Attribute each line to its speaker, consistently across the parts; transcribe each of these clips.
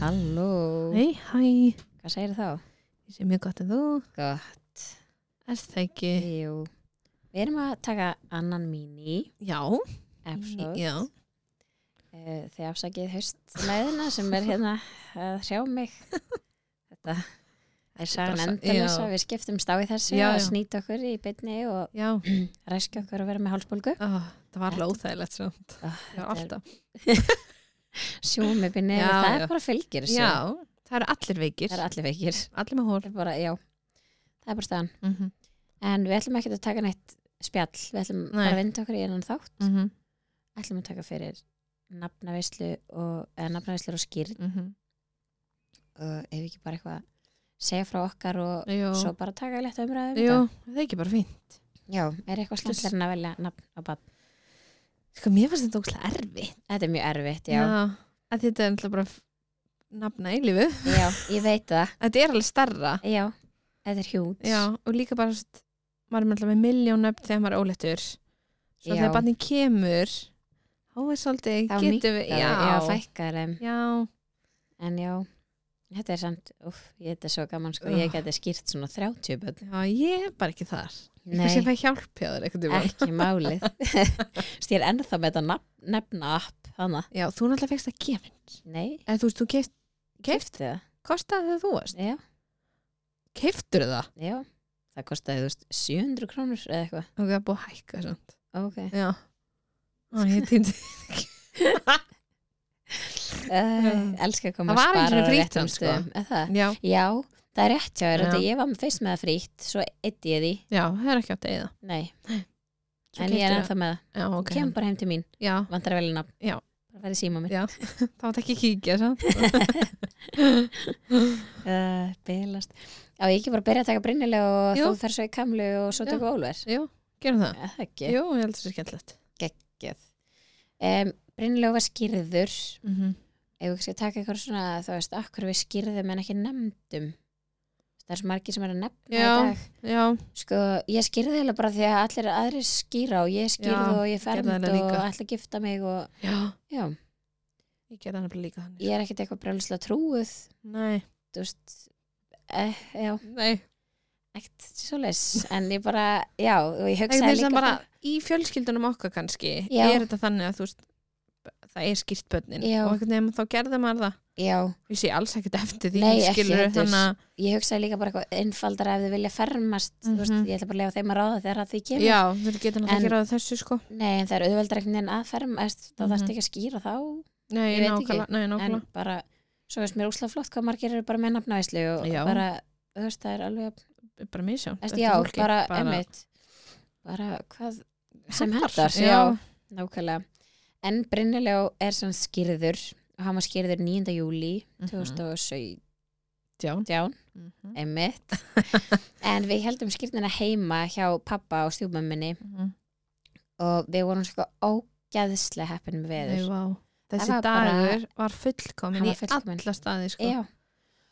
Speaker 1: Halló,
Speaker 2: Hei, hæ,
Speaker 1: hvað segir þá?
Speaker 2: ég sé mjög gott en þú
Speaker 1: Gott,
Speaker 2: Er það ekki?
Speaker 1: jú Við erum að taka annan mini
Speaker 2: Já,
Speaker 1: episode
Speaker 2: já
Speaker 1: Eh, Þið afsakið haustlæðina sem er hérna að sjá mig Þetta er sagan
Speaker 2: bara sa-
Speaker 1: endalins
Speaker 2: já.
Speaker 1: að við skiptum stá í þessu
Speaker 2: Já,
Speaker 1: að
Speaker 2: já.
Speaker 1: snýta okkur í beinni og
Speaker 2: Já,
Speaker 1: ræskja okkur að vera með hálsbólgu
Speaker 2: Ó, það var alveg óþægilegt samt
Speaker 1: Ah,
Speaker 2: Já,
Speaker 1: þetta er-
Speaker 2: alltaf
Speaker 1: Sjúmi beinni,
Speaker 2: Já,
Speaker 1: það
Speaker 2: já.
Speaker 1: er bara fylgir þessu
Speaker 2: Já, það eru allir veikir
Speaker 1: Það er allir veikir
Speaker 2: Allir með hól
Speaker 1: Það er bara, já, það er bara staðan
Speaker 2: mm -hmm.
Speaker 1: En við ætlum ekki að taka neitt spjall Við ætlum
Speaker 2: Nei.
Speaker 1: bara að vinda okkur í enan þátt
Speaker 2: mhm,
Speaker 1: ætlum að taka fyrir nafnaveislu og, eða nafnaveislu og skýrn
Speaker 2: mhm.
Speaker 1: og ef ekki bara eitthvað segja frá okkar og
Speaker 2: Jú,
Speaker 1: svo bara taka létt umræðum
Speaker 2: Jú það er ekki bara fín
Speaker 1: Já, er eitthvað
Speaker 2: Plus-
Speaker 1: slendlar en að velja nafn á bann
Speaker 2: Sko, mér fannst þetta ókslega erfitt
Speaker 1: Þetta er mjög erfitt, já,
Speaker 2: að Þetta er ennlega bara f- nafna í lífu
Speaker 1: já. ég veit það
Speaker 2: Þetta er alveg starra
Speaker 1: Já, þetta er hjút
Speaker 2: Já, og líka bara st, maður er með alltaf með miljón nöfn þegar maður er óléttur svo
Speaker 1: Já.
Speaker 2: þegar barnið kemur þá er svolítið,
Speaker 1: Þá
Speaker 2: getum við
Speaker 1: já, já fækkar þeim
Speaker 2: já,
Speaker 1: En já, þetta er samt Úf, ég þetta er svo gaman sko,
Speaker 2: Ugh.
Speaker 1: ég geti skýrt svona 30 bönn
Speaker 2: já, ég er bara ekki þar kannski
Speaker 1: Nei, Eh.
Speaker 2: fæ hjálp hjá þér eitthvað tímann.
Speaker 1: ekki málið Stýr ennþá með þetta nafn- nefna app hana
Speaker 2: já, þú náttúrulega fegst það gefin
Speaker 1: Nei,
Speaker 2: eða þú veist, þú keft, keft
Speaker 1: kefti það
Speaker 2: kostaði þegar þú varst,
Speaker 1: Já
Speaker 2: keftur það
Speaker 1: Já, það kostiði, þú veist, 700 krónur eða eitthvað.
Speaker 2: og það er búið að hækka samt
Speaker 1: Ok.
Speaker 2: já, Ó, ég týndi
Speaker 1: Uh, elska að koma
Speaker 2: Það var einu sinni frítt
Speaker 1: réttum
Speaker 2: hann, sko.
Speaker 1: stöðum, er það?
Speaker 2: já,
Speaker 1: Já, það er rétt hjá þér,
Speaker 2: Já.
Speaker 1: þetta ég var með fyrst með það frítt, svo eitt ég því,
Speaker 2: já, það er ekki átt að eða
Speaker 1: nei,
Speaker 2: Svo
Speaker 1: en ég er
Speaker 2: keyptirðu
Speaker 1: ennþá með það.
Speaker 2: já, ok,
Speaker 1: Okay. Kem bara heim til mín,
Speaker 2: já,
Speaker 1: vantar að velja nafn.
Speaker 2: Já.
Speaker 1: Það verði síma minn.
Speaker 2: já þá átt ekki að kíkja samt
Speaker 1: Uh, Bilast. Já, ég ekki bara að byrja að taka brinnilega og
Speaker 2: Jú.
Speaker 1: þú fer svo í kamlu og svo
Speaker 2: Já.
Speaker 1: tökum Ólver.
Speaker 2: Jú, gerum það
Speaker 1: Það er ekki.
Speaker 2: Jú, ég held þessi skemmtilegt
Speaker 1: Gekkið. Um, brinnilega var skýrður,
Speaker 2: mm
Speaker 1: Mhm.
Speaker 2: -hmm.
Speaker 1: ef við kannski að taka eitthvað svona þá veist, akkur við skýrðum en ekki nefndum það er svo margir sem er að nefna
Speaker 2: Já.
Speaker 1: í dag
Speaker 2: Já,
Speaker 1: sko, ég skýrði heila bara því að allir aðrir skýra og ég skýrði
Speaker 2: Já,
Speaker 1: og ég fermt
Speaker 2: gerði þetta
Speaker 1: og
Speaker 2: líka.
Speaker 1: allir gifta mig og
Speaker 2: já,
Speaker 1: já,
Speaker 2: ég gerði hann bara líka þannig
Speaker 1: ég er ekkert eitthvað brjóðslega trúið
Speaker 2: Nei,
Speaker 1: þú veist eh, já,
Speaker 2: nei
Speaker 1: ekkert svoleiðis en ég bara, já, og ég
Speaker 2: Það er
Speaker 1: hugsaði líka
Speaker 2: sem bara í fjölskyldunum okkar kannski
Speaker 1: Já.
Speaker 2: er þetta þannig að þú veist það er skýrt börnin
Speaker 1: Já.
Speaker 2: og einhvern veginn þá gerði maður það
Speaker 1: já,
Speaker 2: ég sé alls ekkert eftir því
Speaker 1: Nei, ekki
Speaker 2: skilur
Speaker 1: heldur.
Speaker 2: þannig að
Speaker 1: ég hugsaði líka bara eitthvað einfaldara ef þið vilja fermast, þú
Speaker 2: Mhm.
Speaker 1: veist, ég ætla bara að lega þeim að ráða þegar að því kemur
Speaker 2: já, þú getur
Speaker 1: En-
Speaker 2: náttúrulega ekki ráðið þessu sko
Speaker 1: nei, en það er auðveldreknin að fermast þá
Speaker 2: Mhm.
Speaker 1: þarfst ekki að skýra þá
Speaker 2: Nei,
Speaker 1: Ég veit ekki.
Speaker 2: nákvæmlega, nei,
Speaker 1: en
Speaker 2: nákvæmlega.
Speaker 1: bara, svo veist mér úslega flott hvað margir eru bara með nafnavæslu og
Speaker 2: Já.
Speaker 1: bara, þú veist, það er alveg
Speaker 2: bara misjá
Speaker 1: eftir, já, bara, emmitt bara hvað sem hendar já,
Speaker 2: Mhm.
Speaker 1: nákvæmlega en Brynniljó er svona skýrður og hann var skýrður 9. júli
Speaker 2: Mhm.
Speaker 1: 2017,
Speaker 2: já. Mhm.
Speaker 1: mm. emmitt en við heldum skýrnina heima hjá pappa og stjúmömminni og við vorum sko ógeðslega heppin með
Speaker 2: Nei,
Speaker 1: veður
Speaker 2: vá.
Speaker 1: Það
Speaker 2: þessi
Speaker 1: var
Speaker 2: dagur
Speaker 1: bara-
Speaker 2: var fullkomin
Speaker 1: Hann
Speaker 2: í
Speaker 1: var fullkominn.
Speaker 2: alla staði sko.
Speaker 1: Já,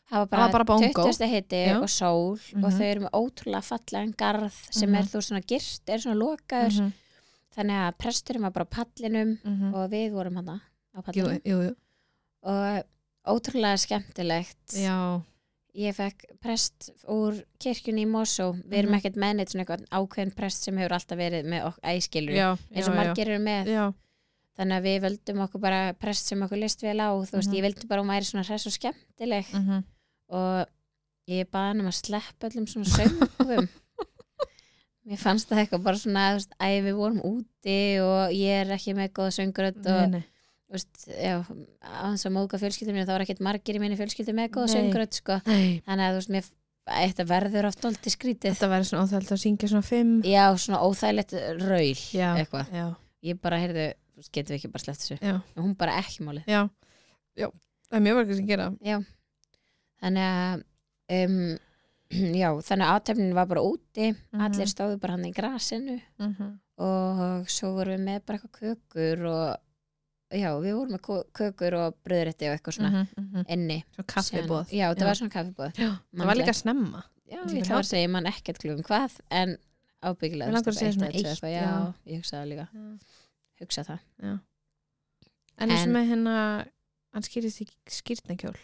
Speaker 1: það var
Speaker 2: Það
Speaker 1: bara,
Speaker 2: var bara bongo.
Speaker 1: 20. hiti
Speaker 2: Já.
Speaker 1: og sól og
Speaker 2: Mhm.
Speaker 1: þau eru með ótrúlega fallegan garð sem
Speaker 2: Mhm.
Speaker 1: er þú veist, svona girt, er svona lokaður
Speaker 2: Mhm,
Speaker 1: þannig að presturinn var bara á pallinum
Speaker 2: mhm.
Speaker 1: og við vorum hana á
Speaker 2: Jú,
Speaker 1: pallinum
Speaker 2: jú, jú.
Speaker 1: og ótrúlega skemmtilegt
Speaker 2: Já,
Speaker 1: ég fekk prest úr kirkjunni í Mosó, við erum
Speaker 2: Mhm.
Speaker 1: ekkert með neitt svona eitthvað ákveðin prest sem hefur alltaf verið með okkur æskilur,
Speaker 2: já,
Speaker 1: eins og
Speaker 2: já, já.
Speaker 1: margir eru með
Speaker 2: já,
Speaker 1: þannig að við völdum okkur bara prest sem okkur list vel á, þú veist,
Speaker 2: Mhm.
Speaker 1: ég vildi bara að hún væri svona hress og skemmtileg
Speaker 2: mhm.
Speaker 1: og ég baði hann um að sleppa öllum svona söngum mér fannst það eitthvað bara svona þú veist, æ, við vorum úti og ég er ekki með góða söngrödd
Speaker 2: Nei,
Speaker 1: og
Speaker 2: nei.
Speaker 1: þú veist, já, aðeins að móðga fjölskyldum mínu þá var ekkert margir í minni fjölskyldum með góða
Speaker 2: Nei.
Speaker 1: söngrödd sko.
Speaker 2: Nei.
Speaker 1: þannig að þú veist, mér æ, þetta verður oft olti skrítið
Speaker 2: Þetta væri svona óþægt að syngja svona fimm
Speaker 1: já, svona óþægilegt raul
Speaker 2: Já.
Speaker 1: eitthvað,
Speaker 2: Já,
Speaker 1: ég bara heyrðu þú veist, getum við ekki bara sleppt þessu,
Speaker 2: Já.
Speaker 1: og hún bara ekki málið
Speaker 2: já, já Það er mjög verið sem gera
Speaker 1: þannig að um, já, þannig að átöfnin var bara úti allir
Speaker 2: Mhm.
Speaker 1: stóðu bara hann í grasinu
Speaker 2: mm -hmm.
Speaker 1: og svo vorum við með bara eitthvað kökur og já, við vorum með kö- kökur og bröðrétti og eitthvað svona inni.
Speaker 2: Svo Mhm. kaffibóð
Speaker 1: Síðan- Já, það
Speaker 2: Já.
Speaker 1: var svona kaffibóð.
Speaker 2: Já, Það var líka snemma
Speaker 1: Já,
Speaker 2: Þetta
Speaker 1: ég
Speaker 2: var
Speaker 1: ætla að segja mann ekkert klugum hvað, en ábyggilega.
Speaker 2: Mig
Speaker 1: þú
Speaker 2: langar að
Speaker 1: veist,
Speaker 2: segja
Speaker 1: eitt
Speaker 2: svona
Speaker 1: eða tvö
Speaker 2: eitt,
Speaker 1: eitthvað, Já,
Speaker 2: já.
Speaker 1: ég hugsaði líka, hugsaði það.
Speaker 2: En eins og
Speaker 1: En-
Speaker 2: með hérna hann skýrist í skýrtnakjól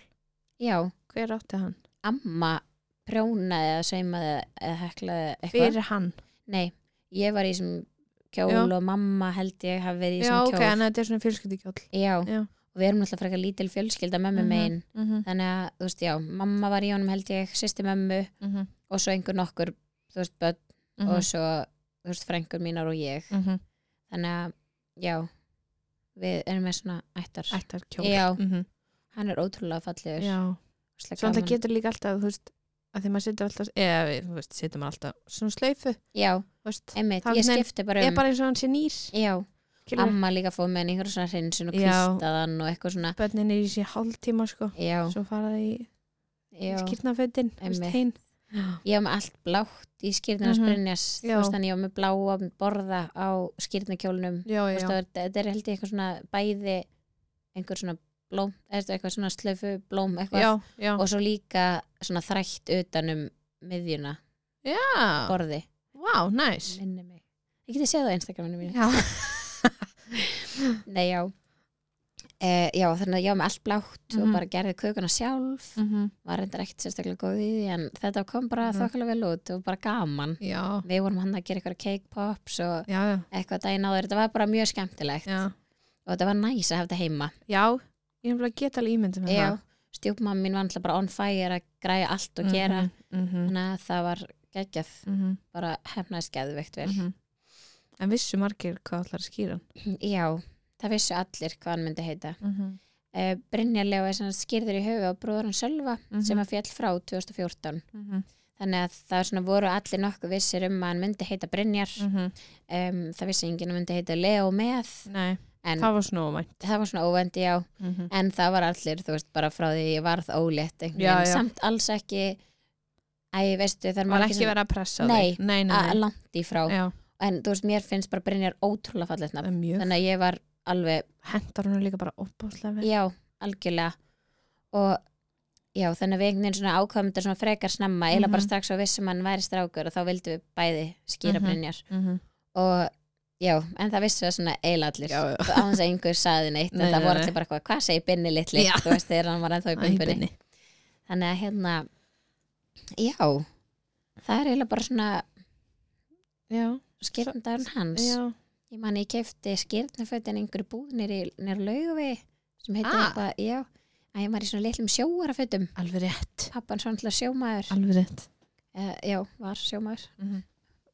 Speaker 1: já,
Speaker 2: Hver átti hann?
Speaker 1: amma prjónaði eða saumaði eða heklaði eitthvað
Speaker 2: Fyrir hann.
Speaker 1: Nei, ég var í sem kjól
Speaker 2: Já.
Speaker 1: og mamma held ég hafi verið í
Speaker 2: Já,
Speaker 1: sem
Speaker 2: ok,
Speaker 1: kjól
Speaker 2: en þetta er svona fjölskyldikjóll.
Speaker 1: Já,
Speaker 2: Já.
Speaker 1: og við erum náttúrulega frekar lítil fjölskylda mömmu
Speaker 2: Mhm.
Speaker 1: megin
Speaker 2: Mm -hmm.
Speaker 1: þannig að, þú veist, já, mamma var í honum held ég sýsti mömmu
Speaker 2: Mm -hmm.
Speaker 1: og svo einhver nokkur, þú veist, börn
Speaker 2: mhm,
Speaker 1: og svo, þú veist, frængur mínar og ég þannig að, já við erum með svona ættar
Speaker 2: Ættar kjól.
Speaker 1: Já.
Speaker 2: Mhm.
Speaker 1: hann er ótrúlega fallegur
Speaker 2: Já.
Speaker 1: ógeðslega
Speaker 2: Svo alltaf
Speaker 1: gaman.
Speaker 2: getur líka alltaf, þú veist, að því maður setur alltaf, eða, við- þú veist, setur maður alltaf svona slöyfu,
Speaker 1: já,
Speaker 2: þú veist.
Speaker 1: einmitt,
Speaker 2: Þá
Speaker 1: ég
Speaker 2: einhvern veginn-
Speaker 1: skipti bara
Speaker 2: Ég er
Speaker 1: um
Speaker 2: bara eins og hann sé nýr.
Speaker 1: já,
Speaker 2: Kjólur.
Speaker 1: amma líka fóð með hann einhverjum svona hreinsun og
Speaker 2: Já.
Speaker 1: kvistaðan og eitthvað svona
Speaker 2: Bönnin er í sér hálftíma, sko.
Speaker 1: já,
Speaker 2: Svo faraði í
Speaker 1: já,
Speaker 2: skýrnafötin, þú veist,
Speaker 1: Einmitt.
Speaker 2: hinn.
Speaker 1: ég var með allt blátt í skýrnum
Speaker 2: Mhm.
Speaker 1: mm -hmm.
Speaker 2: Já.
Speaker 1: þú veist, þannig ég var með bláa borða á skýrnakjólnum
Speaker 2: Já,
Speaker 1: Þú veist,
Speaker 2: já,
Speaker 1: það er- þetta er held ég eitthvað svona bæði einhver svona blóm, eða þetta eitthvað svona slöfu blóm eitthvað
Speaker 2: já, já.
Speaker 1: og svo líka svona þrætt utanum miðjuna,
Speaker 2: Já,
Speaker 1: borði
Speaker 2: Ah, vá, næs.
Speaker 1: minni mig, ég geti séð það á Instagraminu mínu
Speaker 2: Já.
Speaker 1: nei já e, já þannig að ég var með allt blátt og
Speaker 2: Mhm.
Speaker 1: bara gerði kökuna sjálf var reyndar ekkert sérstaklega góð í því en þetta kom bara mm
Speaker 2: Mhm.
Speaker 1: vel út og bara gaman
Speaker 2: Já,
Speaker 1: við vorum hann að gera eitthvað cake pops og
Speaker 2: já, já.
Speaker 1: eitthvað daginn áður, þetta var bara mjög skemmtilegt
Speaker 2: Já,
Speaker 1: og þetta var næs að hafa þetta heima
Speaker 2: já. ég hef bara geta alveg ímyndið með það.
Speaker 1: stjúpmann mín var alltaf bara on fire að græja allt og gera
Speaker 2: Mhm,
Speaker 1: þannig að það var geggjað
Speaker 2: mhm,
Speaker 1: bara hefnaðis geðveikt vel
Speaker 2: mhm. En vissu margir hvað allar skýra hann.
Speaker 1: já, það vissu allir hvað hann myndi heita
Speaker 2: Mhm,
Speaker 1: uh, Brynja Leo er svona skýrður í höfu á bróður hann Sölva
Speaker 2: Mhm.
Speaker 1: sem að fjall frá 2014
Speaker 2: mhm,
Speaker 1: þannig að það svona voru allir nokkuð vissir um að hann myndi heita Brynjar
Speaker 2: mhm.
Speaker 1: um, það vissi enginn að hann myndi heita Leo með
Speaker 2: Nei,
Speaker 1: en
Speaker 2: það var snóvænt.
Speaker 1: það var svona óvendi á
Speaker 2: Mhm,
Speaker 1: en það var allir, þú veist, bara frá því ég varð ólétt einhvern
Speaker 2: Já,
Speaker 1: veginn.
Speaker 2: já.
Speaker 1: samt alls ekki æ, veistu, það er
Speaker 2: Var
Speaker 1: margir
Speaker 2: ekki
Speaker 1: sem-
Speaker 2: verið að pressa
Speaker 1: Nei,
Speaker 2: þig. Nei, nei,
Speaker 1: að-
Speaker 2: nei.
Speaker 1: langt í frá,
Speaker 2: Já,
Speaker 1: en þú veist, mér finnst bara Brynjar ótrúlega fallegt
Speaker 2: það
Speaker 1: nafn
Speaker 2: er mjög.
Speaker 1: þannig að ég var alveg,
Speaker 2: Hendar hún líka bara opbáslega vel.
Speaker 1: já, algjörlega og já, þannig að við einhvern veginn svona ákvæmum þetta svona frekar snemma eiginlega
Speaker 2: Mhm.
Speaker 1: bara strax á vissum hann væri strákur og þá vildum við bæði skýra
Speaker 2: Mhm.
Speaker 1: Brynjar
Speaker 2: Mhm.
Speaker 1: og já, en það vissu það svona eiginlega allir
Speaker 2: Já, já.
Speaker 1: á hans að einhver saði neitt en
Speaker 2: Nei,
Speaker 1: það
Speaker 2: nei,
Speaker 1: voru
Speaker 2: nei.
Speaker 1: allir bara eitthvað, hvað segir Binni litli
Speaker 2: Já.
Speaker 1: þú veist, þegar hann var ennþá í
Speaker 2: Æ,
Speaker 1: bumbunni
Speaker 2: Binni.
Speaker 1: þannig að hérna já, það er eiginlega bara svona
Speaker 2: Já,
Speaker 1: skýrndarinn hans
Speaker 2: já.
Speaker 1: ég man ég kefti skýrnafötin einhverju búð nýri, nýri laugavi sem heitir
Speaker 2: Ah.
Speaker 1: eitthvað, já að ég var í svona litlum sjóarafötum
Speaker 2: Alveg rétt.
Speaker 1: pappan svo náttúrulega sjómaður
Speaker 2: Alveg rétt.
Speaker 1: uh, já, var sjómaður
Speaker 2: Mhm.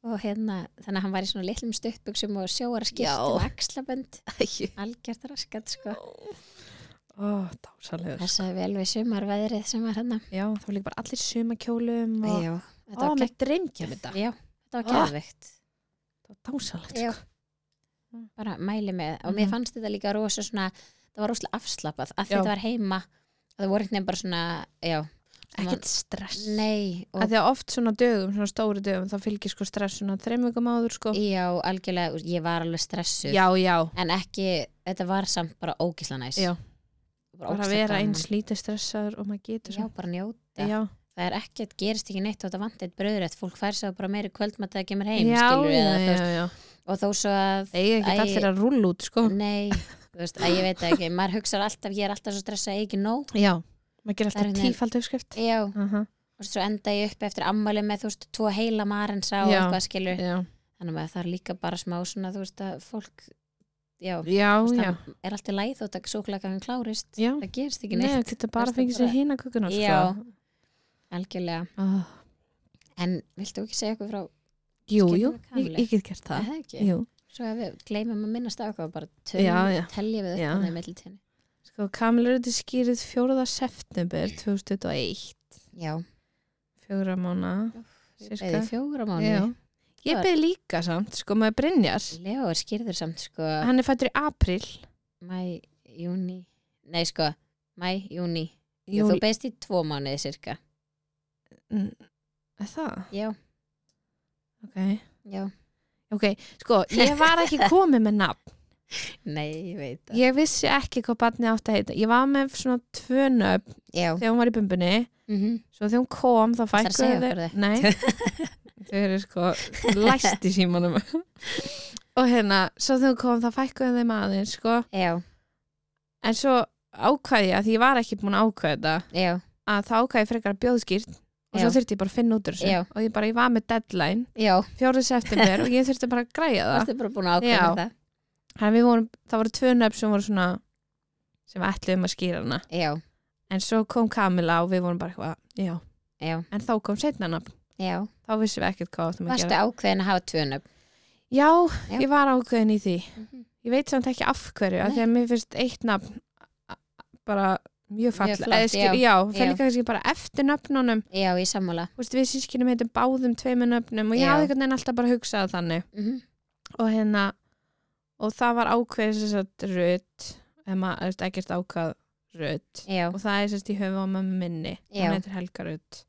Speaker 1: og hérna, þannig að hann var í svona litlum stuttbuxum og sjóaraskýrtum axlabönd
Speaker 2: Æ,
Speaker 1: algjört raskat sko
Speaker 2: Ó, dásalegur.
Speaker 1: passaði vel við sumarveðrið sem var hérna
Speaker 2: Já, það var líka bara allir sumakjólum og
Speaker 1: já,
Speaker 2: Ó,
Speaker 1: þetta var
Speaker 2: með drengja með þetta.
Speaker 1: gegn já, þetta var
Speaker 2: Ah.
Speaker 1: geðveikt
Speaker 2: Það var dásalegt.
Speaker 1: Já.
Speaker 2: Sko. Mm.
Speaker 1: bara mæli með og mér
Speaker 2: Mhm.
Speaker 1: fannst þetta líka rosa svona það var rosalega afslapað að
Speaker 2: Já.
Speaker 1: þetta var heima og það voru eitthvað bara svona, já
Speaker 2: Ekkert stress.
Speaker 1: nei, og
Speaker 2: Af því að oft svona dögum, svona stóri dögum, þá fylgir sko stress svona þreim vikum áður sko.
Speaker 1: já, algjörlega þú veist, ég var alveg stressuð,
Speaker 2: Já, já.
Speaker 1: en ekki þetta var samt bara ógisla næs
Speaker 2: Já.
Speaker 1: bara,
Speaker 2: Bara
Speaker 1: ógeðslega
Speaker 2: að vera
Speaker 1: gaman.
Speaker 2: eins lítið stressaður og maður getur
Speaker 1: já,
Speaker 2: svona.
Speaker 1: bara njóta,
Speaker 2: Já, já,
Speaker 1: það er ekkert gerist ekki neitt og þetta vant eitt bröðrætt, fólk fær svo bara meiri kvöldmatt að það kemur heim,
Speaker 2: já,
Speaker 1: skilur
Speaker 2: já,
Speaker 1: eða, þú
Speaker 2: já,
Speaker 1: veist,
Speaker 2: já.
Speaker 1: og þó svo að
Speaker 2: Það er
Speaker 1: Æ. Mm.
Speaker 2: ekki allir að rúlla út sko.
Speaker 1: nei, þú veist, að ég veit það ekki maður hugsar alltaf, ég er alltaf svo stressað ég er ekki nóg,
Speaker 2: Já. Maður gerir
Speaker 1: Það er
Speaker 2: alltaf
Speaker 1: einhvern
Speaker 2: tífald uppskrift.
Speaker 1: já
Speaker 2: Aha,
Speaker 1: og svo enda ég upp eftir ammali með þú veist, tvo heila marensa og
Speaker 2: Já.
Speaker 1: eitthvað skilur
Speaker 2: Já,
Speaker 1: þannig að það er líka bara smá svona þú veist að fólk já, þú
Speaker 2: já,
Speaker 1: veist,
Speaker 2: já.
Speaker 1: það er alltaf læð og það súklaga hann klárist
Speaker 2: Já.
Speaker 1: það gerist ekki
Speaker 2: Nei,
Speaker 1: neitt
Speaker 2: það getur bara
Speaker 1: Veist
Speaker 2: að
Speaker 1: það
Speaker 2: fengja sér
Speaker 1: bara-
Speaker 2: hína kukkuna sko.
Speaker 1: Já. algjörlega,
Speaker 2: Ah,
Speaker 1: en viltu ekki segja eitthvað frá
Speaker 2: Jú,
Speaker 1: Skemmtileg
Speaker 2: jú, ég,
Speaker 1: Kamillu.
Speaker 2: ég get gert
Speaker 1: Er
Speaker 2: það.
Speaker 1: það ekki,
Speaker 2: Jú.
Speaker 1: svo að við gleymum að minnast á eitthvað og bara
Speaker 2: Já, já.
Speaker 1: tölum, telja við
Speaker 2: Já.
Speaker 1: upp þannig meðlutinni,
Speaker 2: Sko, Kamil er þetta skýrið 4. september 2021,
Speaker 1: já,
Speaker 2: fjóra mánu.
Speaker 1: við
Speaker 2: Sirka.
Speaker 1: beðið í fjóra mánu
Speaker 2: Ég beði líka samt, sko, maður Brynjar.
Speaker 1: Leo er skýrður samt sko
Speaker 2: Hann er fættur í april.
Speaker 1: mæ, júni, nei sko mæ, júni, þú beðist í tvo mánuði cirka, Mm.
Speaker 2: Er það?
Speaker 1: já,
Speaker 2: Ok.
Speaker 1: já
Speaker 2: Ok, sko, ég var ekki komið með nafn.
Speaker 1: Nei, ég veit það.
Speaker 2: Ég vissi ekki hvað barnið átti að heita. Ég var með svona tvö nöfn
Speaker 1: Já.
Speaker 2: þegar hún var í bumbunni.
Speaker 1: Mm
Speaker 2: Svo þegar hún kom, þá
Speaker 1: að
Speaker 2: fækkuðu
Speaker 1: segja okkur þau?
Speaker 2: Nei, þau eru sko læst í símanum. og hérna, svo þegar hún kom, þá fækkuðu þeim aðeins, sko.
Speaker 1: Já,
Speaker 2: En svo ákvæði ég að því ég var ekki búin að ákvæða þetta
Speaker 1: já,
Speaker 2: að þá ákæði frekar að bjóða skýrt og svo
Speaker 1: Já.
Speaker 2: þurfti ég bara að finna út úr þessu
Speaker 1: Já.
Speaker 2: og ég bara, ég var með deadline
Speaker 1: Já,
Speaker 2: fjórið september og ég þurfti bara að græja það
Speaker 1: varstu bara búin að ákveða
Speaker 2: Já.
Speaker 1: það
Speaker 2: Þannig að við vorum, það voru tvö nöfn sem voru svona sem við ætluðum að skýra hana
Speaker 1: Já,
Speaker 2: en svo kom Kamila og við vorum bara eitthvað, já,
Speaker 1: já,
Speaker 2: en þá kom setna nafn
Speaker 1: já
Speaker 2: þá vissum við ekkert hvað áttum að
Speaker 1: Varstu
Speaker 2: gera
Speaker 1: ákveðin að hafa tvönöfn
Speaker 2: já,
Speaker 1: Já.
Speaker 2: ég var ákveðin í því
Speaker 1: Mhm.
Speaker 2: ég veit samt ekki af hverju, af
Speaker 1: Nei.
Speaker 2: því að mér finnst eitt nafn a- a- bara mjög
Speaker 1: Mjög
Speaker 2: falla
Speaker 1: flott,
Speaker 2: Eða skil-
Speaker 1: já.
Speaker 2: já, það
Speaker 1: Já.
Speaker 2: er líka kannski bara eftir nöfnunum
Speaker 1: Já, ég sammála
Speaker 2: Þú veist, við sískinum heitum báðum tveimur nöfnum og ég
Speaker 1: Já.
Speaker 2: hafði einhvern veginn alltaf bara hugsað þannig
Speaker 1: mm -hmm.
Speaker 2: og hérna og það var ákveðin sem sagt rödd eða maður þú veist, ekkert ákvað rödd
Speaker 1: Já,
Speaker 2: og það er sérst í höfu á mömmu minni
Speaker 1: Já.
Speaker 2: hún heitir Helga Rutt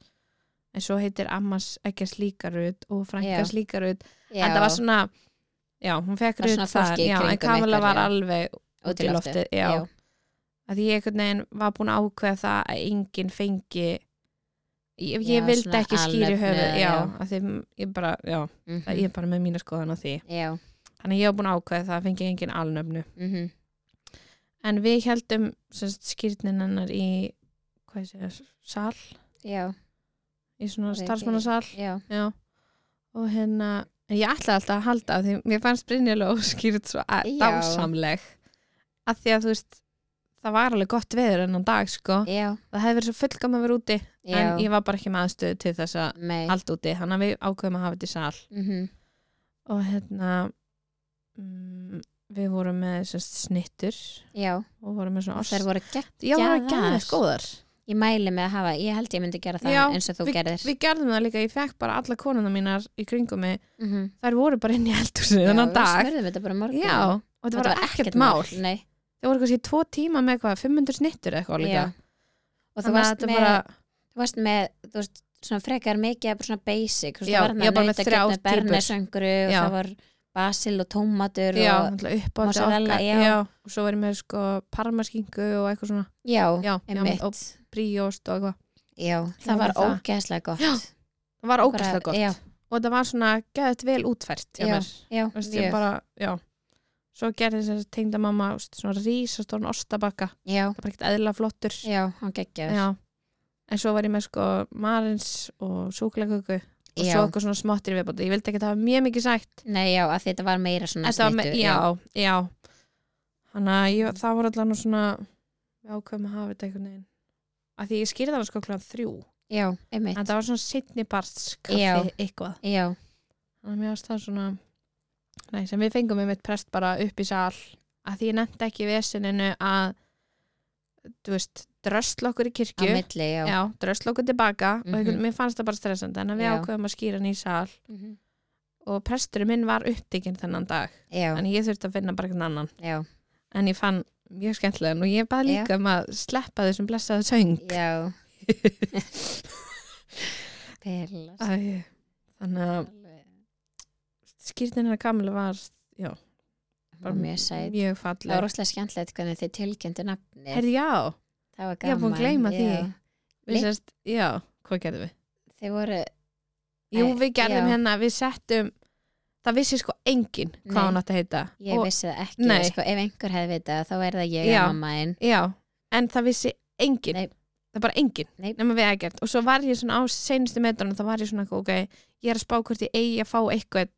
Speaker 2: en svo heitir ammas ekkert líka Rutt og frankas líka Rutt
Speaker 1: já
Speaker 2: en það var svona, já, hún fekk
Speaker 1: Var
Speaker 2: Rutt
Speaker 1: svona
Speaker 2: þar,
Speaker 1: fólki í
Speaker 2: já, en
Speaker 1: kringum
Speaker 2: Kamala
Speaker 1: ykkur,
Speaker 2: var
Speaker 1: já.
Speaker 2: alveg út í loftið, já. að ég einhvern veginn var búin að ákveða það að enginn fengi ég,
Speaker 1: Já,
Speaker 2: ég vildi
Speaker 1: svona
Speaker 2: ekki skýri
Speaker 1: alnöfn
Speaker 2: höfu
Speaker 1: eða-
Speaker 2: já,
Speaker 1: já.
Speaker 2: að því ég bara, já,
Speaker 1: Mhm.
Speaker 2: það ég er bara með mína skoðan á því
Speaker 1: Já,
Speaker 2: þannig að ég var búin að ákveða það að fengi enginn alnöfnu
Speaker 1: mhm.
Speaker 2: en við heldum skýrnin hennar í hvað sé, sal
Speaker 1: já,
Speaker 2: í svona
Speaker 1: Veit ég.
Speaker 2: starfsmannasal
Speaker 1: já
Speaker 2: já. og hérna en ég ætlaði alltaf að halda því mér fannst Brynjölu óskýrt svo a-
Speaker 1: Já.
Speaker 2: dásamleg að því að þú veist það var alveg gott veður ennan dag sko
Speaker 1: Já,
Speaker 2: það hefði verið svo fullgam að vera úti
Speaker 1: já
Speaker 2: en ég var bara ekki með aðstöðu til þess að
Speaker 1: Nei
Speaker 2: halda úti, hann að við ákveðum að hafa þetta í sal
Speaker 1: Mhm.
Speaker 2: og hérna mm, við vorum með sérst, snittur
Speaker 1: Já,
Speaker 2: og vorum með svona
Speaker 1: og þær
Speaker 2: ost
Speaker 1: voru gegn
Speaker 2: já, það var
Speaker 1: geðar.
Speaker 2: gæðið góðar
Speaker 1: Ég mæli með að hafa, ég held ég myndi gera það
Speaker 2: Já,
Speaker 1: eins og þú
Speaker 2: við,
Speaker 1: gerðir
Speaker 2: við gerðum það líka, ég fekk bara alla konuna mínar í kringum mig
Speaker 1: Mhm.
Speaker 2: þær voru bara inn í eldhúsinu
Speaker 1: Já,
Speaker 2: þennan dag
Speaker 1: Við smörðum þetta bara morgun
Speaker 2: já, og þetta var ekkert mál það
Speaker 1: Nei,
Speaker 2: voru kannski tvo tíma með hvað, 500 snittur eitthvað líka
Speaker 1: já Og þú
Speaker 2: þannig að
Speaker 1: varst,
Speaker 2: þetta
Speaker 1: með,
Speaker 2: bara,
Speaker 1: þú varst með, þú veist, svona frekar mikið bara svona basic, þú veist,
Speaker 2: Já,
Speaker 1: það var
Speaker 2: ég var
Speaker 1: hann
Speaker 2: bara með
Speaker 1: að
Speaker 2: þrjár
Speaker 1: geta
Speaker 2: týpur.
Speaker 1: bernesöngru og
Speaker 2: Já.
Speaker 1: það var basil og tómatur og,
Speaker 2: já, upp á
Speaker 1: mozzarella, já.
Speaker 2: og svo verið með sko parmaskingu og eitthvað svona
Speaker 1: já,
Speaker 2: já, já,
Speaker 1: einmitt
Speaker 2: og bríost og eitthvað
Speaker 1: Já,
Speaker 2: Ég
Speaker 1: það var
Speaker 2: var það.
Speaker 1: ógeðslega gott Já,
Speaker 2: það var ógæslega gott
Speaker 1: Já,
Speaker 2: og það var svona gæðt vel útfært hjá mér.
Speaker 1: já,
Speaker 2: Þú veist, ég
Speaker 1: mjög.
Speaker 2: bara, já svo gerði þess að tengda mamma svona rísastórn ostabakka það
Speaker 1: já,
Speaker 2: var ekkert eðla flottur
Speaker 1: já, hann geggjaður
Speaker 2: Já. en svo var ég með sko marins og súkulegugu og
Speaker 1: Já.
Speaker 2: svo eitthvað svona smottir í viðbóti ég vildi ekki að hafa mjög mikið sætt
Speaker 1: Nei, já, að þetta var meira svona
Speaker 2: Þetta var með,
Speaker 1: snittur,
Speaker 2: já, já þannig að ég, það voru allan svona við ákveðum að hafa þetta einhvern veginn að því ég skýrði þannig sko klán þrjú
Speaker 1: já, einmitt
Speaker 2: en það var svona sittni barts
Speaker 1: Já.
Speaker 2: kaffi eitthvað
Speaker 1: Já,
Speaker 2: þannig að mér varst það svona nei, sem við fengum einmitt prest bara upp í sal að því ég nefndi ekki vesininu að þú veist, drösla okkur í
Speaker 1: á
Speaker 2: kirkju
Speaker 1: milli, já,
Speaker 2: já, drösla okkur tilbaka mm
Speaker 1: Mhm.
Speaker 2: og einhvern, mér fannst það bara stressandi en við
Speaker 1: Já.
Speaker 2: ákveðum að skýra hann í sal
Speaker 1: Mhm.
Speaker 2: og presturinn minn var upptekinn þennan dag
Speaker 1: já,
Speaker 2: þannig ég þurfti að finna bara einhvern annan
Speaker 1: já,
Speaker 2: en ég fann mjög skemmtilegan og ég baði líka um að sleppa þessum blessaðu söng
Speaker 1: já Pelast
Speaker 2: Æ, þannig að
Speaker 1: alveg.
Speaker 2: skýrtin hennar Kamilu var já,
Speaker 1: Bara mjög sæt.
Speaker 2: mjög
Speaker 1: Það var
Speaker 2: falleg
Speaker 1: rosalega skemmtilegt hvernig þið tilkynntu nafni.
Speaker 2: Herði, já,
Speaker 1: það var
Speaker 2: ég var
Speaker 1: gaman.
Speaker 2: búin að gleyma því.
Speaker 1: já.
Speaker 2: við
Speaker 1: Lit-
Speaker 2: sérst, já, hvað gerðum við?
Speaker 1: Þið voru,
Speaker 2: Jú,
Speaker 1: Æ,
Speaker 2: við gerðum
Speaker 1: já.
Speaker 2: hennar, við settum það vissi sko enginn
Speaker 1: Nei.
Speaker 2: hvað hún átti að heita
Speaker 1: ég
Speaker 2: og,
Speaker 1: vissi það ekki,
Speaker 2: Nei.
Speaker 1: sko, ef einhver hefði vitað þá er það ég
Speaker 2: Já.
Speaker 1: að mamma einn.
Speaker 2: Já, en það vissi enginn
Speaker 1: Nei.
Speaker 2: það er bara enginn,
Speaker 1: Nei.
Speaker 2: nema við ekkert og svo var ég svona á seinustu metrunum þá var ég svona, ok, ég er að spá hvort ég eigi að fá eitthvað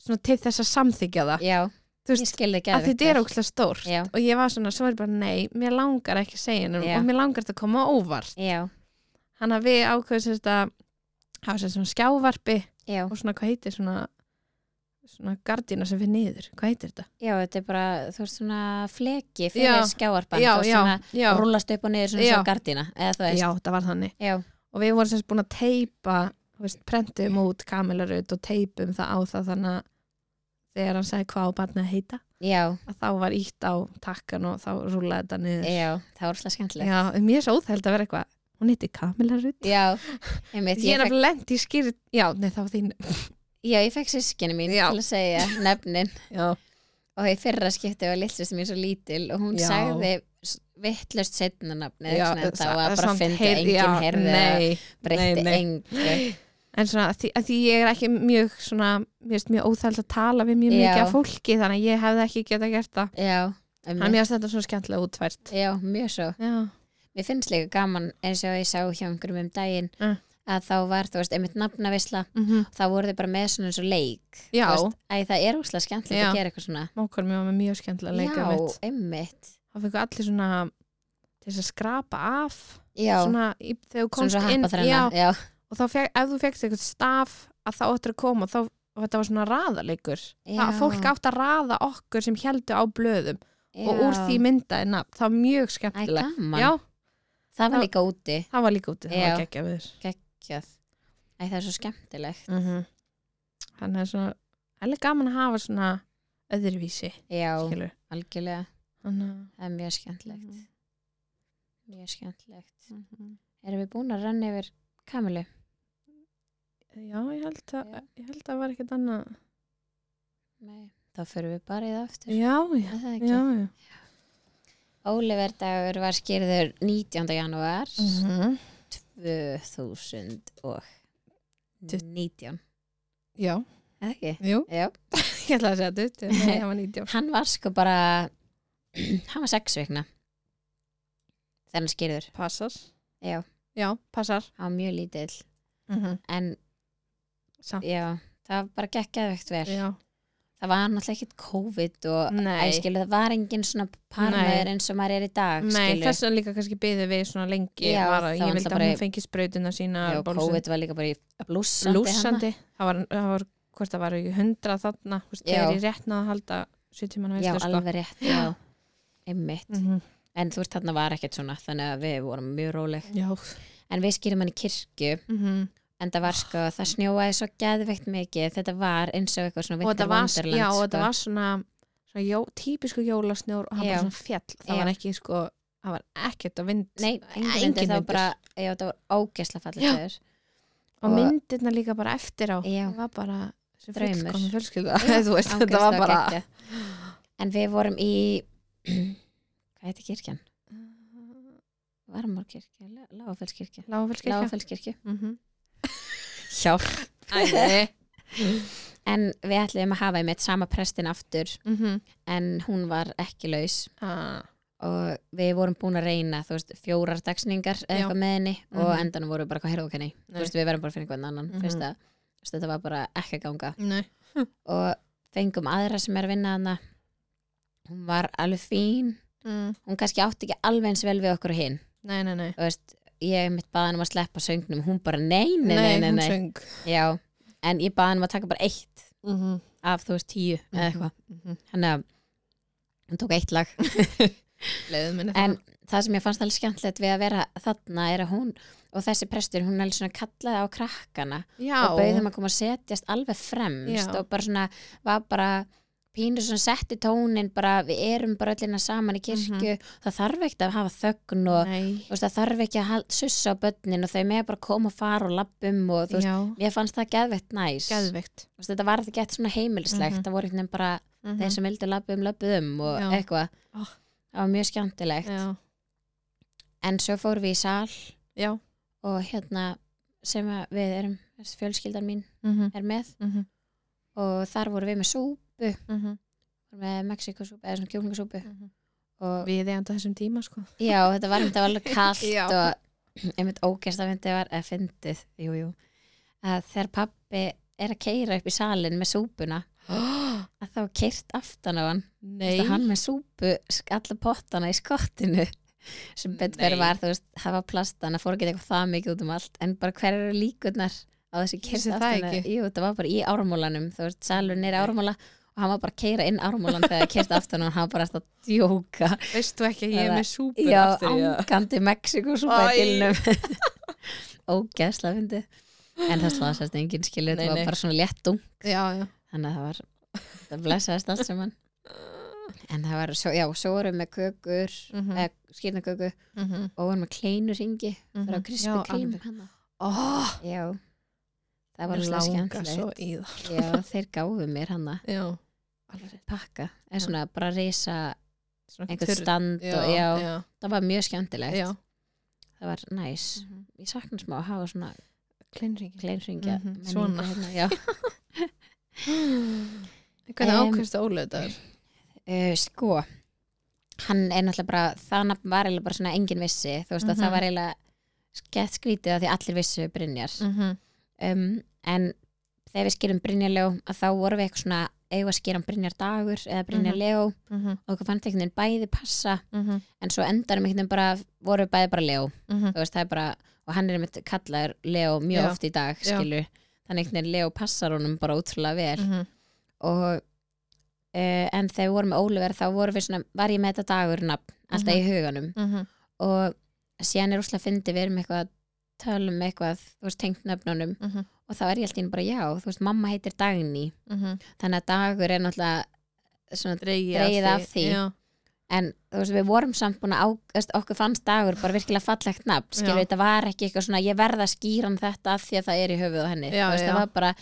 Speaker 2: svona til þess að samþykja það,
Speaker 1: Já,
Speaker 2: þú
Speaker 1: ég
Speaker 2: veist,
Speaker 1: skilði ekki
Speaker 2: að þetta er ókslega stórt
Speaker 1: Já.
Speaker 2: og ég var svona, svo var ég bara, nei, mér langar ekki að segja hennum
Speaker 1: Já.
Speaker 2: og mér langar þetta að koma á óvart
Speaker 1: Já,
Speaker 2: hann að við ákveðum sérst að hafa sérst svona skjávarpi
Speaker 1: já,
Speaker 2: og svona, hvað heitir svona svona gardina sem við niður, hvað heitir þetta?
Speaker 1: já, þetta er bara, þú veist svona fleki
Speaker 2: Já.
Speaker 1: fyrir skjáarband, þú veist
Speaker 2: já,
Speaker 1: svona
Speaker 2: já,
Speaker 1: rúlast upp og niður svona
Speaker 2: Já.
Speaker 1: svo gardina, eða þú veist.
Speaker 2: já, það var þannig
Speaker 1: Já,
Speaker 2: og við vorum semst búin að teipa þú veist, prentum út kamilarut og teipum það á það þannig að þegar hann sagði hvað á barnið að heita
Speaker 1: já,
Speaker 2: að þá var ítt á takkan og þá rúlaði þetta niður
Speaker 1: já, það var óslega skemmtilegt.
Speaker 2: Já, en mér er svo óþæld að vera eitthvað hún heiti kamilarut
Speaker 1: Já, einmitt,
Speaker 2: ég
Speaker 1: ég
Speaker 2: er
Speaker 1: fekk,
Speaker 2: að lendi í skýr já, nei það var þín
Speaker 1: já, ég fekk sískinni mín
Speaker 2: Já.
Speaker 1: til að segja nefnin.
Speaker 2: já,
Speaker 1: og í fyrra skipti var litsist mér svo lítil og hún
Speaker 2: Já.
Speaker 1: sagði vittlust setna nafni
Speaker 2: já,
Speaker 1: það var
Speaker 2: sa-
Speaker 1: bara
Speaker 2: samt
Speaker 1: að finna enginn
Speaker 2: heyrði- já,
Speaker 1: herði að
Speaker 2: nei,
Speaker 1: breytti
Speaker 2: nei.
Speaker 1: engu
Speaker 2: en svona að því, að því ég er ekki mjög svona, mér erst mjög óþæld að tala við mjög
Speaker 1: Já.
Speaker 2: mikið af fólki þannig að ég hefði ekki getað gert það
Speaker 1: já,
Speaker 2: en
Speaker 1: um,
Speaker 2: mér erst þetta svona skemmtilega útvært
Speaker 1: já, mjög svo
Speaker 2: já,
Speaker 1: mér finnst líka gaman eins og ég sá hjá einhverjum um daginn
Speaker 2: Mm.
Speaker 1: að þá var, þú veist, einmitt nafnavisla
Speaker 2: mm -hmm.
Speaker 1: þá voru þið bara með svona eins og leik
Speaker 2: Já.
Speaker 1: Mhm. Þú veist, æ, það er úslega skemmtilegt
Speaker 2: Já.
Speaker 1: að gera eitthvað svona
Speaker 2: Mókar mér var með mjög skemmtilega leika
Speaker 1: já,
Speaker 2: mitt.
Speaker 1: einmitt
Speaker 2: Það fengur allir svona til þess að skrapa af
Speaker 1: já,
Speaker 2: svona í, þegar þú
Speaker 1: svona
Speaker 2: komst
Speaker 1: svo
Speaker 2: inn
Speaker 1: happa þrenna
Speaker 2: já,
Speaker 1: já,
Speaker 2: og þá fekk, ef þú fekkst eitthvað staf að þá ættir að koma þá, og þetta var svona raðaleikur
Speaker 1: Já.
Speaker 2: það fólk átt að raða okkur sem heldu á blöðum og úr því myndaði nafn, það var mjög
Speaker 1: Æ,
Speaker 2: skemmtilega
Speaker 1: gaman,
Speaker 2: já,
Speaker 1: það
Speaker 2: Það-
Speaker 1: var líka úti
Speaker 2: það var líka úti, það
Speaker 1: Já.
Speaker 2: var geggja við
Speaker 1: geggjað Æ, það er svo skemmtilegt
Speaker 2: mm -hmm. þannig að svona alveg gaman að hafa svona öðruvísi
Speaker 1: já,
Speaker 2: skilur
Speaker 1: algjörlega,
Speaker 2: þannig
Speaker 1: það er mjög skemmtilegt
Speaker 2: Mhm.
Speaker 1: mjög skemmtilegt
Speaker 2: að
Speaker 1: erum við búin að renna yfir Kamilu?
Speaker 2: já, ég held að,
Speaker 1: Já.
Speaker 2: ég held að það var ekkert annað
Speaker 1: Nei, þá förum við bara í það aftur
Speaker 2: já, já,
Speaker 1: Er það ekki?
Speaker 2: já, já.
Speaker 1: Óliver dagur var skýrður 19. janúar Mhm.
Speaker 2: -hmm.
Speaker 1: 2019
Speaker 2: já,
Speaker 1: eða ekki?
Speaker 2: jú
Speaker 1: Já.
Speaker 2: ég ætla að segja dutt, en nei, það var 19
Speaker 1: Hann var sko bara hann var sex vikna þegar hann skýrður
Speaker 2: passar,
Speaker 1: Já, Mhm.
Speaker 2: já, passar
Speaker 1: hann var mjög lítill
Speaker 2: mm -hmm.
Speaker 1: en
Speaker 2: samt,
Speaker 1: já, það bara gekk geðvegt vel
Speaker 2: já
Speaker 1: það var náttúrulega ekkit COVID og
Speaker 2: Nei,
Speaker 1: æskilu, það var engin svona parmaður eins og maður er í dag
Speaker 2: Nei
Speaker 1: skilur.
Speaker 2: þess að líka kannski byði við svona lengi
Speaker 1: Já,
Speaker 2: var að
Speaker 1: þá
Speaker 2: ég vildi
Speaker 1: náttúrulega
Speaker 2: að
Speaker 1: bara-
Speaker 2: hún fengi sprautuna sína
Speaker 1: já,
Speaker 2: bólusett-
Speaker 1: COVID var líka bara í blússandi þarna.
Speaker 2: blúsandi það var, það var hvort það var í 100 þarna þú veist,
Speaker 1: Já.
Speaker 2: þegar ég rétt náða að halda 70 manna
Speaker 1: já,
Speaker 2: veislu sko.
Speaker 1: alveg rétt já. einmitt,
Speaker 2: mm -hmm.
Speaker 1: en þú veist þarna var ekkert svona þannig að við vorum mjög róleg
Speaker 2: já
Speaker 1: en við skýrum hann í kirkju
Speaker 2: mm -hmm.
Speaker 1: en það var sko, það snjóaði svo geðveikt mikið þetta var eins og eitthvað svona
Speaker 2: og
Speaker 1: Winter
Speaker 2: það var,
Speaker 1: Wonderland
Speaker 2: já, og
Speaker 1: sko.
Speaker 2: það var svona, svona jó, típisku jólasnjór og hann
Speaker 1: Já.
Speaker 2: bara svona fjall
Speaker 1: Já.
Speaker 2: það var ekki sko það var ekkert að vind
Speaker 1: Nei, engin
Speaker 2: engin
Speaker 1: myndi, það var
Speaker 2: vindur.
Speaker 1: bara, já, það var ógesla fallið
Speaker 2: Já.
Speaker 1: þegar.
Speaker 2: og
Speaker 1: og-
Speaker 2: myndirna líka bara eftir á
Speaker 1: Já.
Speaker 2: það var bara sem
Speaker 1: Draumur.
Speaker 2: fullkomin fjölskylda Þú veist, þetta var
Speaker 1: Ógeðslega
Speaker 2: bara
Speaker 1: geggjað. En við vorum í, hvað heitir kirkjan? Varmárkirkja, Lágafellskirkja.
Speaker 2: lágafélskirkja
Speaker 1: Lágafellskirkja.
Speaker 2: mm -hmm.
Speaker 1: Hjálp.
Speaker 2: æði
Speaker 1: En við ætliðum að hafa einmitt sama prestin aftur
Speaker 2: mm -hmm.
Speaker 1: en hún var ekki laus
Speaker 2: ah.
Speaker 1: og við vorum búin að reyna þú veist, fjórar dagsningar eða
Speaker 2: Já.
Speaker 1: eitthvað með henni og
Speaker 2: Mhm.
Speaker 1: endanum vorum við bara hvað heyrðu okkenni
Speaker 2: Nei.
Speaker 1: þú veist við verðum bara að finna einhvern annan
Speaker 2: Mhm.
Speaker 1: mm -hmm. veist, þetta var bara ekki að ganga
Speaker 2: nei
Speaker 1: og fengum aðra sem er að vinna hana hún var alveg fín
Speaker 2: mm.
Speaker 1: hún kannski átti ekki alveg eins vel við okkur og hinn
Speaker 2: nei, nei, nei
Speaker 1: þú veist, ég mitt baðan um að sleppa söngnum hún bara nei, nei, nei,
Speaker 2: nei,
Speaker 1: nei,
Speaker 2: hún
Speaker 1: nei.
Speaker 2: söng
Speaker 1: Já, en ég baðan um að taka bara eitt
Speaker 2: mm -hmm.
Speaker 1: af þú veist tíu eða
Speaker 2: Mhm.
Speaker 1: eitthvað hann, hann tók eitt lag
Speaker 2: leiðum minni
Speaker 1: en það sem ég fannst alveg skemmtilegt við að vera þarna er að hún og þessi prestur hún alveg svona kallaði á krakkana
Speaker 2: já,
Speaker 1: og bauði þeim að koma að setjast alveg fremst
Speaker 2: Já.
Speaker 1: og bara svona var bara pínu svona setti tónin bara við erum bara öllina saman
Speaker 2: Mhm.
Speaker 1: í kirkju það þarf ekkert að hafa þögn og
Speaker 2: nei,
Speaker 1: þú veist, það þarf ekki að hal- sussa á börnin og þau með bara koma og fara og lappum og þú veist,
Speaker 2: já,
Speaker 1: ég fannst það geðvett næs
Speaker 2: geðveikt
Speaker 1: Þú veist, þetta var þetta gett svona heimilislegt
Speaker 2: Mhm.
Speaker 1: það voru einhvern veginn bara þeir sem vildu lappum lappuðum um og
Speaker 2: Já.
Speaker 1: eitthvað
Speaker 2: Oh.
Speaker 1: það var mjög skemmtilegt
Speaker 2: já,
Speaker 1: en svo fórum við í sal
Speaker 2: já
Speaker 1: og hérna sem að við erum þessi fjölskyldan mín
Speaker 2: mm -hmm.
Speaker 1: er með
Speaker 2: Mm
Speaker 1: og þar voru við með súpu
Speaker 2: -hmm.
Speaker 1: með mexikosúpu eða svona kjúklingasúpu og
Speaker 2: mhm. við enda þessum tíma sko
Speaker 1: já, þetta var einmitt alveg kallt
Speaker 2: Já.
Speaker 1: og einmitt ógæsta fyndið var eða fyndið, jú, jú að þegar pappi er að keira upp í salin með súpuna að þá var keirt aftan á hann Þú
Speaker 2: nei
Speaker 1: veist að hann með súpu sk- alla pottana í skottinu sem betur verið
Speaker 2: Nei.
Speaker 1: var, þú veist, það var plastana fór ekki eitthvað það mikið út um allt en bara hver eru líkurnar á þessu kyrst
Speaker 2: Vissi það
Speaker 1: aftana
Speaker 2: ekki?
Speaker 1: jú, það var bara í ármólanum, þú veist, salurinn er í ármóla og hann var bara að keira inn ármólan þegar kyrst aftan og hann var bara alltaf að djóka
Speaker 2: veist þú ekki að ég er
Speaker 1: Eða-
Speaker 2: með súpur
Speaker 1: já,
Speaker 2: aftur í það?
Speaker 1: angandi Mexiko súpa
Speaker 2: Æ.
Speaker 1: í bílnum ógeðslega fyndi en það slasast enginn skilur,
Speaker 2: Nei,
Speaker 1: þetta
Speaker 2: nei.
Speaker 1: var bara svona léttung
Speaker 2: já, já
Speaker 1: þannig að það var, það blessaðist allt saman en það var, svo, já, svo vorum við með kökur
Speaker 2: mm -hmm.
Speaker 1: eða skýrnaköku
Speaker 2: mhm,
Speaker 1: og vorum með kleinur ringi það var krispi klín hana.
Speaker 2: oh,
Speaker 1: já, það var
Speaker 2: það var
Speaker 1: alltaf
Speaker 2: langa svo
Speaker 1: skemmtilegt
Speaker 2: í það
Speaker 1: já, þeir gáfu mér hana
Speaker 2: já,
Speaker 1: pakka, eða svona bara reysa
Speaker 2: Svona
Speaker 1: einhvern
Speaker 2: turn.
Speaker 1: stand
Speaker 2: já,
Speaker 1: og já,
Speaker 2: já,
Speaker 1: það var mjög skemmtilegt
Speaker 2: já.
Speaker 1: það var næs ég sakna smá að hafa svona
Speaker 2: kleinringi
Speaker 1: kleinringja
Speaker 2: Mhm,
Speaker 1: menningu
Speaker 2: svona.
Speaker 1: hérna, já.
Speaker 2: Hvernig
Speaker 1: Em,
Speaker 2: ákvæmst að ólega þetta er?
Speaker 1: uh, sko Eh, hann er náttúrulega bara, það nafn var eiginlega bara svona engin vissi, þú veist að
Speaker 2: Mhm.
Speaker 1: það var eiginlega skett skrítið að því allir vissu Brynjar
Speaker 2: Mhm.
Speaker 1: um, en þegar við skýrum Brynjar Leó að þá vorum við eitthvað svona eigum að skýra um Brynjar Dagur eða Brynjar
Speaker 2: Mhm.
Speaker 1: Leó
Speaker 2: Mhm.
Speaker 1: og okkur fannst einhvern veginn bæði passa
Speaker 2: Mhm.
Speaker 1: en svo endarum einhvern veginn bara voru við bæði bara Leó
Speaker 2: Mhm.
Speaker 1: þú veist það er bara og hann er einmitt kallaður Leó mjög
Speaker 2: Já.
Speaker 1: oft í dag
Speaker 2: Já.
Speaker 1: skilu þannig einhvern veginn Leó passar honum bara ótrúlega vel
Speaker 2: Mhm.
Speaker 1: og uh, en þegar við vorum með Ólíver þá vorum við svona, var ég með þetta dagurnafn alltaf í huganum
Speaker 2: Mhm.
Speaker 1: og síðan er úslega fyndi við erum eitthvað að tala um eitthvað, þú veist, tengt nöfnunum
Speaker 2: Mhm.
Speaker 1: og þá er ég alltaf bara, já, þú veist, mamma heitir Dagný
Speaker 2: Mhm.
Speaker 1: þannig að dagur er náttúrulega svona, Dregið
Speaker 2: Dregið
Speaker 1: af því.
Speaker 2: Já.
Speaker 1: en þú veist, við vorum samt búin að á, þú veist, okkur fannst dagur bara virkilega fallegt nafn, skilur
Speaker 2: Já.
Speaker 1: þetta var ekki eitthvað svona, ég verða skýran þetta af því að það er í höfuð á henni,
Speaker 2: Já,
Speaker 1: þú veist, það
Speaker 2: já.
Speaker 1: var bara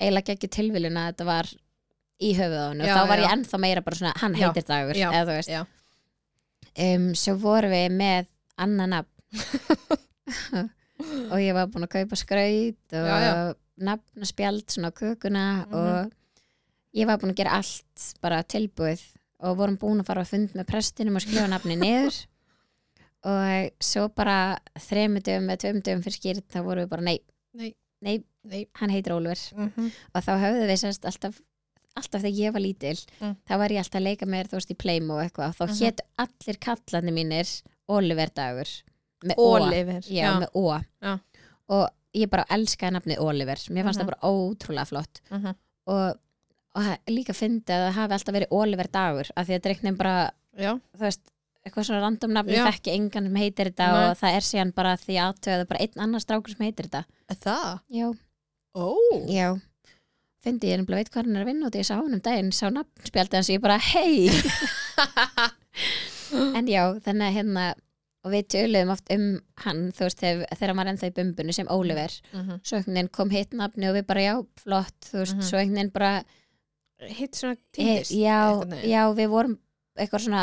Speaker 1: eiginlega ekki tilviljun að þetta var í höfuð á henni
Speaker 2: Já,
Speaker 1: og þá var
Speaker 2: já.
Speaker 1: ég ennþá meira bara svona, hann
Speaker 2: Já,
Speaker 1: heitir dagur
Speaker 2: já,
Speaker 1: eða þú veist,
Speaker 2: já.
Speaker 1: um, svo vorum við með annan nafn og ég var búin að kaupa skraut og
Speaker 2: Já, já.
Speaker 1: nafnaspjald svona á kökuna
Speaker 2: Mhm.
Speaker 1: og ég var búin að gera allt bara tilbúið og vorum búin að fara að fund með prestinum og skrifa nafni niður og svo bara þremur dögum eða tveim dögum fyrir skýrt þá vorum við bara nei,
Speaker 2: Nei.
Speaker 1: nei,
Speaker 2: Nei.
Speaker 1: hann heitir Ólfur
Speaker 2: Mhm.
Speaker 1: og þá höfðu við sérst alltaf alltaf þegar ég var lítil
Speaker 2: Mm.
Speaker 1: þá var ég alltaf að leika með þér þú veist í Playmo og eitthvað og þá
Speaker 2: Mhm.
Speaker 1: hétu allir kallandi mínir Oliver dagur með Ó.
Speaker 2: Oliver.
Speaker 1: já, með Ó
Speaker 2: Já.
Speaker 1: og ég bara elskaði nafni Oliver mér fannst það bara ótrúlega flott
Speaker 2: Mhm.
Speaker 1: og, og það- líka fyndi að það hafi alltaf verið Oliver dagur af því að dreiknum bara
Speaker 2: Já.
Speaker 1: þú veist eitthvað svona random nafni,
Speaker 2: Já.
Speaker 1: ég þekki engan sem heitir þetta
Speaker 2: Nei.
Speaker 1: og það er síðan bara því aðtöðu bara einn annar strákur sem heitir þetta
Speaker 2: Það?
Speaker 1: já,
Speaker 2: Ó.
Speaker 1: Já, fyndi ég nefnilega veit hvað hann er að vinna og þegar ég sá hann um daginn, sá nafnspjaldið hans og ég bara, hei en já, þannig að hérna og við töluðum oft um hann þú veist, þegar, þegar hann var ennþá í bumbunni sem Óliver
Speaker 2: Mhm.
Speaker 1: svo einhvern veginn kom hitt nafni og við bara, já, flott þú veist,
Speaker 2: Mhm.
Speaker 1: svo einhvern veginn bara
Speaker 2: Hitt svona
Speaker 1: hey,
Speaker 2: týndist.
Speaker 1: Eh, já,
Speaker 2: einhvern veginn.
Speaker 1: já, við vorum eitthvað svona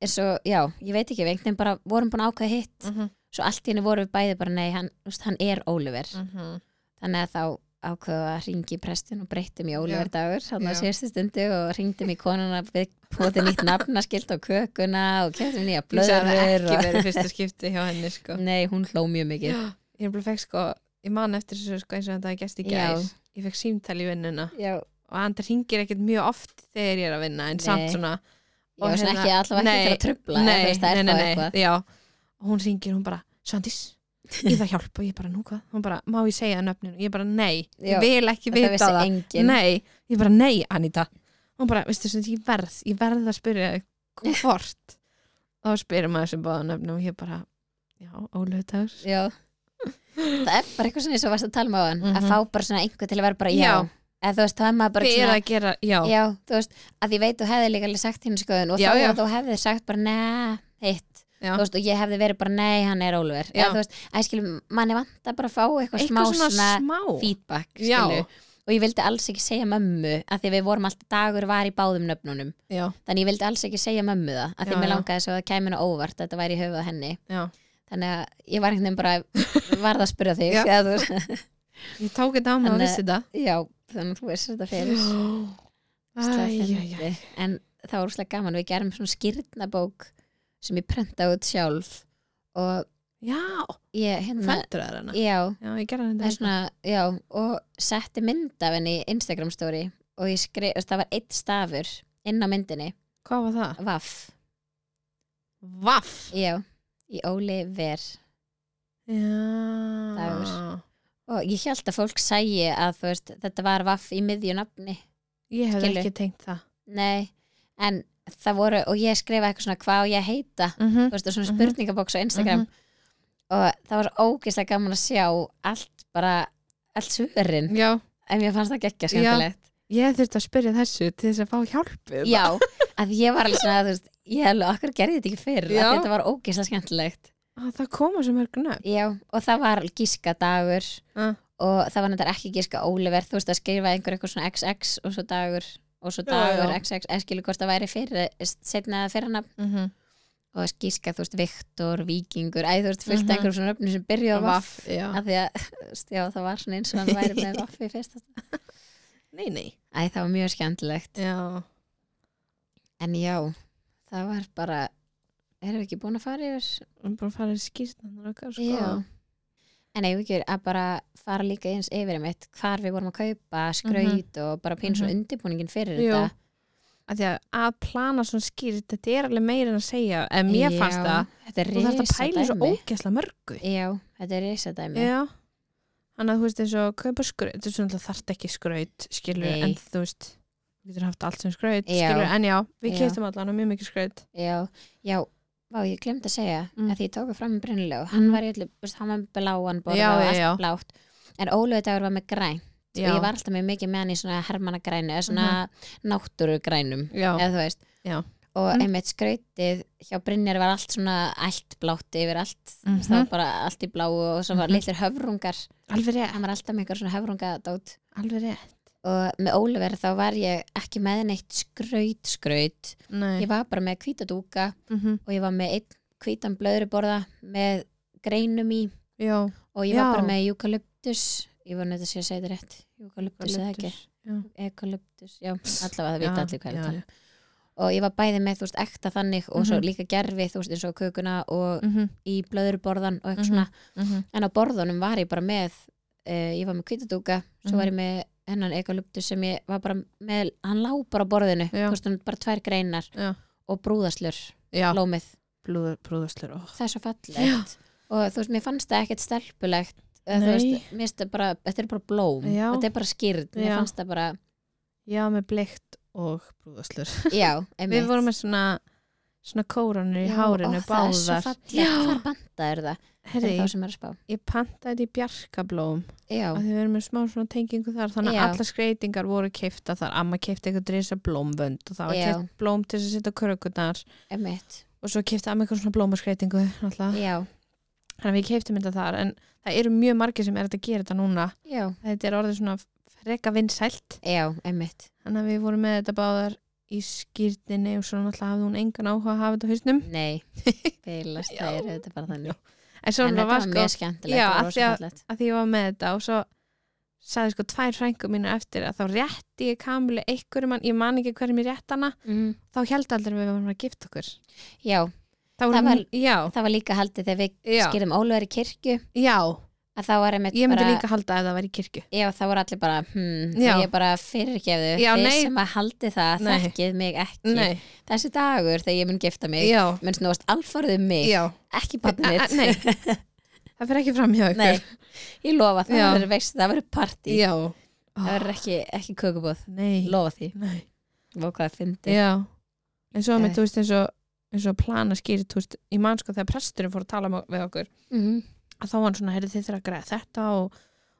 Speaker 1: eins og, já, ég veit ekki, við einhvern veginn bara vorum búin að ákveða hitt,
Speaker 2: Mhm.
Speaker 1: svo allt í henni vorum við bæði bara, nei, hann, þú veist, hann er Óliver
Speaker 2: Mhm.
Speaker 1: þannig að þá ákveðu að ringi í prestin og breyttum í Ólífur dagur þannig að
Speaker 2: Já.
Speaker 1: síðustu stundu og ringdum í konuna við bóðið nýtt nafnaskilt á kökuna og keftum nýja
Speaker 2: Blöður það
Speaker 1: blöður
Speaker 2: ekki
Speaker 1: og...
Speaker 2: verið fyrsta skipti hjá henni sko.
Speaker 1: Nei, hún hló mjög mikið
Speaker 2: Já, ég er fekk sko ég man eftir þessu sko eins og þetta hafi gerst í gæðis ég fekk símtali í vinnuna
Speaker 1: Já,
Speaker 2: og hann ringir ekkert mjög oft þegar ég er að vinna en
Speaker 1: Nei.
Speaker 2: samt svona
Speaker 1: já
Speaker 2: Og
Speaker 1: svona
Speaker 2: hérna-
Speaker 1: ekki allavega ekki
Speaker 2: Nei,
Speaker 1: til að trubla eða þú
Speaker 2: nei,
Speaker 1: veist, það
Speaker 2: nei,
Speaker 1: er
Speaker 2: nei,
Speaker 1: þá
Speaker 2: nei,
Speaker 1: eitthvað.
Speaker 2: já og hún ringir, hún bara, Svandís ég þarf hjálp og ég bara, nú hvað, hún bara, má ég segja nöfnin og ég bara, nei,
Speaker 1: Já,
Speaker 2: ég vil ekki
Speaker 1: Þetta
Speaker 2: vita
Speaker 1: vissi
Speaker 2: það
Speaker 1: enginn
Speaker 2: nei, ég bara, nei, Anita hún bara, veistu sem ég verð, ég verð að spyrja þig hvort þá spyrir maður sem báða nöfnum og ég bara, já, ólöfutagur
Speaker 1: Já Það er bara eitthvað svona eins og varst að tala með hann
Speaker 2: Mhm.
Speaker 1: að fá bara svona einhver til að vera bara já,
Speaker 2: Já.
Speaker 1: eða þú veist, þá er maður bara
Speaker 2: fyrir
Speaker 1: svona
Speaker 2: að gera, já,
Speaker 1: Já, þú veist, að ég veit þú hefði líka alveg sagt hinn skoðun og
Speaker 2: Já,
Speaker 1: þá
Speaker 2: já.
Speaker 1: að þú hefði sagt bara neða, hitt
Speaker 2: já.
Speaker 1: þú veist, og ég hefði verið bara, nei, hann er Ólfur
Speaker 2: Já.
Speaker 1: eða þú veist, að skilum, manni vantar bara að fá eitthvað, smá
Speaker 2: eitthvað
Speaker 1: svona,
Speaker 2: svona smá
Speaker 1: feedback
Speaker 2: já,
Speaker 1: skilur. og ég vildi alls ekki segja mömmu að því að við vorum alltaf dagur var í báðum nöfnunum
Speaker 2: já,
Speaker 1: þannig ég vildi alls ekki segja mömmu það að því
Speaker 2: Já,
Speaker 1: mér
Speaker 2: já.
Speaker 1: langaði svo að það kæmi henni á óvart að þetta væri í höfuð á henni
Speaker 2: já
Speaker 1: þannig að ég var einhvern veginn bara varð að spyrja þig
Speaker 2: Já.
Speaker 1: eða þú veist,
Speaker 2: ég tók þetta á mig og
Speaker 1: En,
Speaker 2: vissi þetta
Speaker 1: já, þannig að þú veist þetta fyrir Ógeðslega
Speaker 2: æjæjæ
Speaker 1: fyndið. en það var úrslega gaman við gerum svona skýrnabók sem ég prenta út sjálf og
Speaker 2: já,
Speaker 1: ég hérna
Speaker 2: fættur það hana
Speaker 1: já,
Speaker 2: já, ég gerði
Speaker 1: það er
Speaker 2: þetta
Speaker 1: svona, já, og setti mynd af henni í Instagram story og ég skrif, þú veist, það var eitt stafur inn á myndinni,
Speaker 2: hvað var það?
Speaker 1: vaff
Speaker 2: vaff
Speaker 1: já, í Óli Ver
Speaker 2: já
Speaker 1: Dagur. og ég held að fólk sægi að þú veist, þetta var vaff í miðju nafni,
Speaker 2: ég hef
Speaker 1: Skilur.
Speaker 2: ekki tengt það
Speaker 1: nei en það voru, og ég skrifa eitthvað svona hvað á ég að heita,
Speaker 2: Mhm,
Speaker 1: þú veist, og svona
Speaker 2: Mhm.
Speaker 1: spurningaboks á Instagram
Speaker 2: mhm.
Speaker 1: og það var ógeðslega gaman að sjá allt bara, allt svörin
Speaker 2: já,
Speaker 1: en mér fannst það gekkja skemmtilegt
Speaker 2: ég þurfti að spyrja þessu til þess að fá hjálp við
Speaker 1: Já, að ég var alveg svona, þú veist, ég alveg okkur gerði þetta ekki fyrr,
Speaker 2: Já.
Speaker 1: að þetta var ógeðslega skemmtilegt.
Speaker 2: það Á, Ah, það koma sem mörg nöfn
Speaker 1: Já, og það var gíska dagur
Speaker 2: Ah.
Speaker 1: og það var nættar ekki gíska Óliver, þú veist að skrifa einhver eitthvað svona XX og svo dagur og svo
Speaker 2: Já,
Speaker 1: dagur
Speaker 2: já.
Speaker 1: XX, eða skilu hvort það væri fyrir, setna eða fyrranafn
Speaker 2: Mhm.
Speaker 1: og gíska, þú veist, Viktor, Víkingur, æ, þú veist, fullt
Speaker 2: Mhm.
Speaker 1: mm einhverjum svona öfnum sem byrjuðu á vaff,
Speaker 2: vaff, já
Speaker 1: af því að, þú veist, já, það var svona eins og hann væri með vaff í fyrsta.
Speaker 2: nei, nei
Speaker 1: Æ, það var mjög skemmtilegt.
Speaker 2: já,
Speaker 1: En já, það var bara erum við ekki búin að fara yfir
Speaker 2: Við erum bara að fara í skýrstanar okkar sko.
Speaker 1: Já. En eigum við ekki að bara fara líka eins yfir mitt hvar við vorum að kaupa, skraut og bara pínu svona undirbúningin fyrir
Speaker 2: Mhm. Jú.
Speaker 1: þetta.
Speaker 2: Af því að, að plana svona skýrt þetta er alveg meira en að segja en mér fannst
Speaker 1: Já,
Speaker 2: það
Speaker 1: Þetta er
Speaker 2: þú þarf að
Speaker 1: risa
Speaker 2: pæla í svo
Speaker 1: dæmi.
Speaker 2: ógæsla mörgu
Speaker 1: Já, þetta er risa dæmi.
Speaker 2: Já Þannig að þú veist eins og kaupa skraut þú veist þarft ekki skraut skilur
Speaker 1: Nei.
Speaker 2: en þú veist við getur haft allt sem skraut
Speaker 1: Já.
Speaker 2: skilur en já við
Speaker 1: Já.
Speaker 2: keftum allan og mjög mikið skraut
Speaker 1: Já, já, vá, ég glemt að segja
Speaker 2: Mm.
Speaker 1: að því ég tók það fram með brunnileg hann
Speaker 2: Mhm.
Speaker 1: var í öllu, þú veist, hann var með bláan borða
Speaker 2: Já,
Speaker 1: og
Speaker 2: já,
Speaker 1: allt
Speaker 2: já.
Speaker 1: blátt en Ólöfi dagur var með græn og
Speaker 2: Já, Mhm.
Speaker 1: ég var alltaf með mikið með hann í svona hermannagrænu eða svona náttúrugrænum
Speaker 2: já,
Speaker 1: eða þú veist
Speaker 2: Já.
Speaker 1: og
Speaker 2: Mm.
Speaker 1: einmitt skrautið hjá Brynjar var allt svona allt blátt yfir allt
Speaker 2: Mhm.
Speaker 1: það var bara allt í bláu og svo var
Speaker 2: Mhm.
Speaker 1: litlir höfrungar
Speaker 2: alveg rétt
Speaker 1: hann var alltaf með einhver svona höfrungadót
Speaker 2: alveg rétt
Speaker 1: og með Ólöfi þá var ég ekki með neitt skraut skraut
Speaker 2: Nei.
Speaker 1: ég var bara með hvítadúka
Speaker 2: mm -hmm.
Speaker 1: og ég var með einn hvítan blöðruborða með greinum í
Speaker 2: Já,
Speaker 1: og ég var
Speaker 2: Já.
Speaker 1: bara með eukalyptus ég var neitt að sé að segja þetta rétt eukalyptus eða ekki, eukalyptus já, allavega það vita allir hvað
Speaker 2: já,
Speaker 1: er
Speaker 2: já.
Speaker 1: þetta og ég var bæði með, þú veist, ekta þannig og svo
Speaker 2: Mhm.
Speaker 1: líka gerfi, þú veist, eins og kökuna og
Speaker 2: Mm -hmm.
Speaker 1: í blöðruborðan og eitthvað
Speaker 2: Mhm.
Speaker 1: svona
Speaker 2: Mm -hmm.
Speaker 1: en á borðunum var ég bara með uh, ég var með kvítadúka, svo
Speaker 2: Mhm.
Speaker 1: var ég með hennan eukalyptus sem ég var bara með hann lá bara á borðinu,
Speaker 2: Já.
Speaker 1: þú veist, hann bara tvær greinar
Speaker 2: Já.
Speaker 1: og brúðaslur,
Speaker 2: já.
Speaker 1: lómið
Speaker 2: Blúður, brúðuslur oh.
Speaker 1: það er svo fallegt og þú veist, mér fannst það ekkert stelpulegt eða þú
Speaker 2: Nei.
Speaker 1: veist, mér finnst það bara, þetta er bara blóm
Speaker 2: Já.
Speaker 1: þetta er bara skýrð, mér
Speaker 2: Já.
Speaker 1: fannst það bara
Speaker 2: Já, með bleikt og brúðuslur
Speaker 1: já, einmitt
Speaker 2: Við vorum með svona svona kóranur í
Speaker 1: Já,
Speaker 2: hárinu
Speaker 1: ó, það er svo
Speaker 2: báðar
Speaker 1: fallegt, hvar banda er það
Speaker 2: Herri,
Speaker 1: er það sem er að spá
Speaker 2: ég pantaði í bjarkablóm
Speaker 1: já,
Speaker 2: af því við erum með smá svona tengingu þar þannig
Speaker 1: Já.
Speaker 2: að allar skreitingar voru keifta þar amma keifti eitthvað drisa blómvönd og það var
Speaker 1: Já.
Speaker 2: keift blóm til þess að setja á krökunar
Speaker 1: einmitt
Speaker 2: og svo keifti amma eitthvað svona blómaskreitingu náttúrulega.
Speaker 1: já,
Speaker 2: þannig að við keiftum þetta þar en það eru mjög margir sem er þetta að gera þetta núna
Speaker 1: já,
Speaker 2: þetta er orðið svona freka vinsælt
Speaker 1: já, einmitt
Speaker 2: þannig að við vorum með þetta báðar í skýrtinni og svo náttúrulega hafði hún engan áhuga að hafa þetta á hausnum
Speaker 1: nei, feilast
Speaker 2: Já.
Speaker 1: það er þetta bara þannig
Speaker 2: en svo
Speaker 1: en þetta
Speaker 2: var
Speaker 1: var
Speaker 2: sko
Speaker 1: mjög skemmtilegt
Speaker 2: Já,
Speaker 1: það var
Speaker 2: af því að-
Speaker 1: rosa fallegt.
Speaker 2: að því ég var með þetta og svo sagði sko tvær frængu mínu eftir að þá rétti ég kamilu einhverjum mann, ég man ekki hverjum ég rétt hana
Speaker 1: Mhm.
Speaker 2: þá held allir að við varum að gifta okkur
Speaker 1: já,
Speaker 2: þá
Speaker 1: Það
Speaker 2: vorum,
Speaker 1: var-
Speaker 2: já,
Speaker 1: það var líka haldið þegar við
Speaker 2: Já.
Speaker 1: skýrðum Ólöfur í kirkju
Speaker 2: já,
Speaker 1: að það var einmitt
Speaker 2: ég myndi
Speaker 1: bara
Speaker 2: líka halda að það var í kirkju
Speaker 1: Já, það voru allir bara, hmm,
Speaker 2: Já.
Speaker 1: og ég bara fyrirgefðu,
Speaker 2: Já,
Speaker 1: þeir
Speaker 2: nei.
Speaker 1: sem að haldi það
Speaker 2: Nei.
Speaker 1: þekkið mig ekki.
Speaker 2: nei,
Speaker 1: Þessi dagur þegar ég mun gifta mig,
Speaker 2: já,
Speaker 1: mun snúast alfarðið mig,
Speaker 2: já
Speaker 1: ekki
Speaker 2: A-
Speaker 1: barnið
Speaker 2: a-
Speaker 1: mitt.
Speaker 2: nei, það fyrir ekki fram hjá ykkur
Speaker 1: Nei, ég lofa það,
Speaker 2: Já.
Speaker 1: það verður veist, það verður partí,
Speaker 2: já, Ah,
Speaker 1: það verður ekki, ekki kökubóð,
Speaker 2: nei,
Speaker 1: lofa því,
Speaker 2: nei
Speaker 1: og hvað það fyndi.
Speaker 2: já, en svo með,
Speaker 1: Geðveikt.
Speaker 2: þú veist, eins og eins og plana skýri, þú veist, ég man sko þegar presturinn fór að tala mo- við okkur
Speaker 1: Mm
Speaker 2: að þá var hann svona, heyrðu þið þurfa að græða þetta og,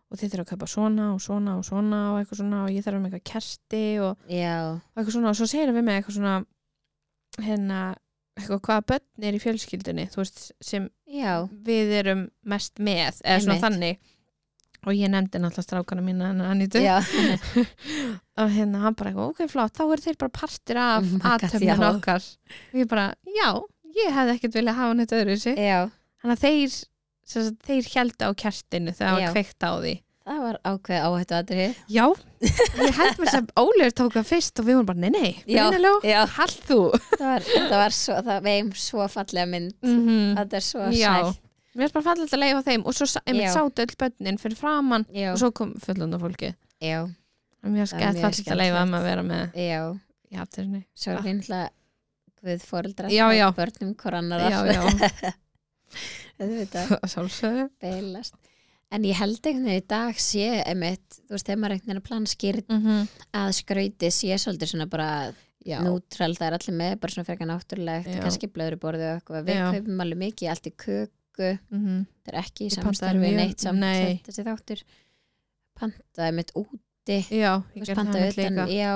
Speaker 2: og þið þurfa að kaupa svona og svona og svona og eitthvað svona og ég þarf um eitthvað kerti og,
Speaker 1: Já,
Speaker 2: og eitthvað svona og svo segir hann við mig eitthvað svona hérna, eitthvað hvaða börn er í fjölskyldunni, þú veist, sem
Speaker 1: já,
Speaker 2: við erum mest með, eða svona
Speaker 1: Einmitt.
Speaker 2: þannig og ég nefndi náttúrulega strákana mína en Anítu
Speaker 1: já,
Speaker 2: og hérna hann bara eitthvað, ok flott, þá eru þeir bara partir af
Speaker 1: Oh my
Speaker 2: oh
Speaker 1: God, já.
Speaker 2: okkar og ég bara, já, ég hefði ekkert viljað hafa neitt öðru sig
Speaker 1: já,
Speaker 2: þannig að þeir sem sagt, þeir held á kertinu þegar það
Speaker 1: Já.
Speaker 2: var kveikt á því
Speaker 1: það var ákveð áhættu aðrið.
Speaker 2: já, ég held mér sem Ólefur tók það fyrst og við vorum bara, nei, nei,
Speaker 1: Já.
Speaker 2: Brynjóló
Speaker 1: Já,
Speaker 2: hald þú
Speaker 1: það var, það var svo, það veim svo fallega mynd,
Speaker 2: -hmm.
Speaker 1: þetta er svo
Speaker 2: Já.
Speaker 1: sæl.
Speaker 2: mér er bara fallið að leiða þeim og svo sa- einmitt
Speaker 1: Já.
Speaker 2: sátu öll bönnin fyrir framann
Speaker 1: Já,
Speaker 2: og svo kom fullanda fólki
Speaker 1: já, Það
Speaker 2: mér
Speaker 1: var
Speaker 2: er
Speaker 1: mjög
Speaker 2: fallið að leiða
Speaker 1: skemmtilegt.
Speaker 2: um að vera með
Speaker 1: já.
Speaker 2: já, til henni
Speaker 1: Svo er
Speaker 2: Ah.
Speaker 1: reyndla við foreldra
Speaker 2: Já, já.
Speaker 1: og börnum korannar
Speaker 2: já, já,
Speaker 1: þetta
Speaker 2: sjálfsögðu
Speaker 1: beilast en ég held einhvern veginn í dag sé emitt, þú veist, þegar maður einhvern veginn að plana skýrt
Speaker 2: mm -hmm.
Speaker 1: að skrauti sé svolítið svona bara
Speaker 2: já,
Speaker 1: nútrál, það er allir með bara svona frekar náttúrulegt,
Speaker 2: Já.
Speaker 1: kannski blöðri borðið og eitthvað, við
Speaker 2: Já.
Speaker 1: kaupum alveg mikið allt í köku,
Speaker 2: mm -hmm.
Speaker 1: það er ekki í
Speaker 2: Ég pantaði
Speaker 1: samstarfi
Speaker 2: mjög-
Speaker 1: neitt samt
Speaker 2: nei.
Speaker 1: þessi þáttur pantaði emitt úti
Speaker 2: já
Speaker 1: þú veist,
Speaker 2: ég gerði það
Speaker 1: pantaði
Speaker 2: mitt
Speaker 1: utan,
Speaker 2: líka
Speaker 1: já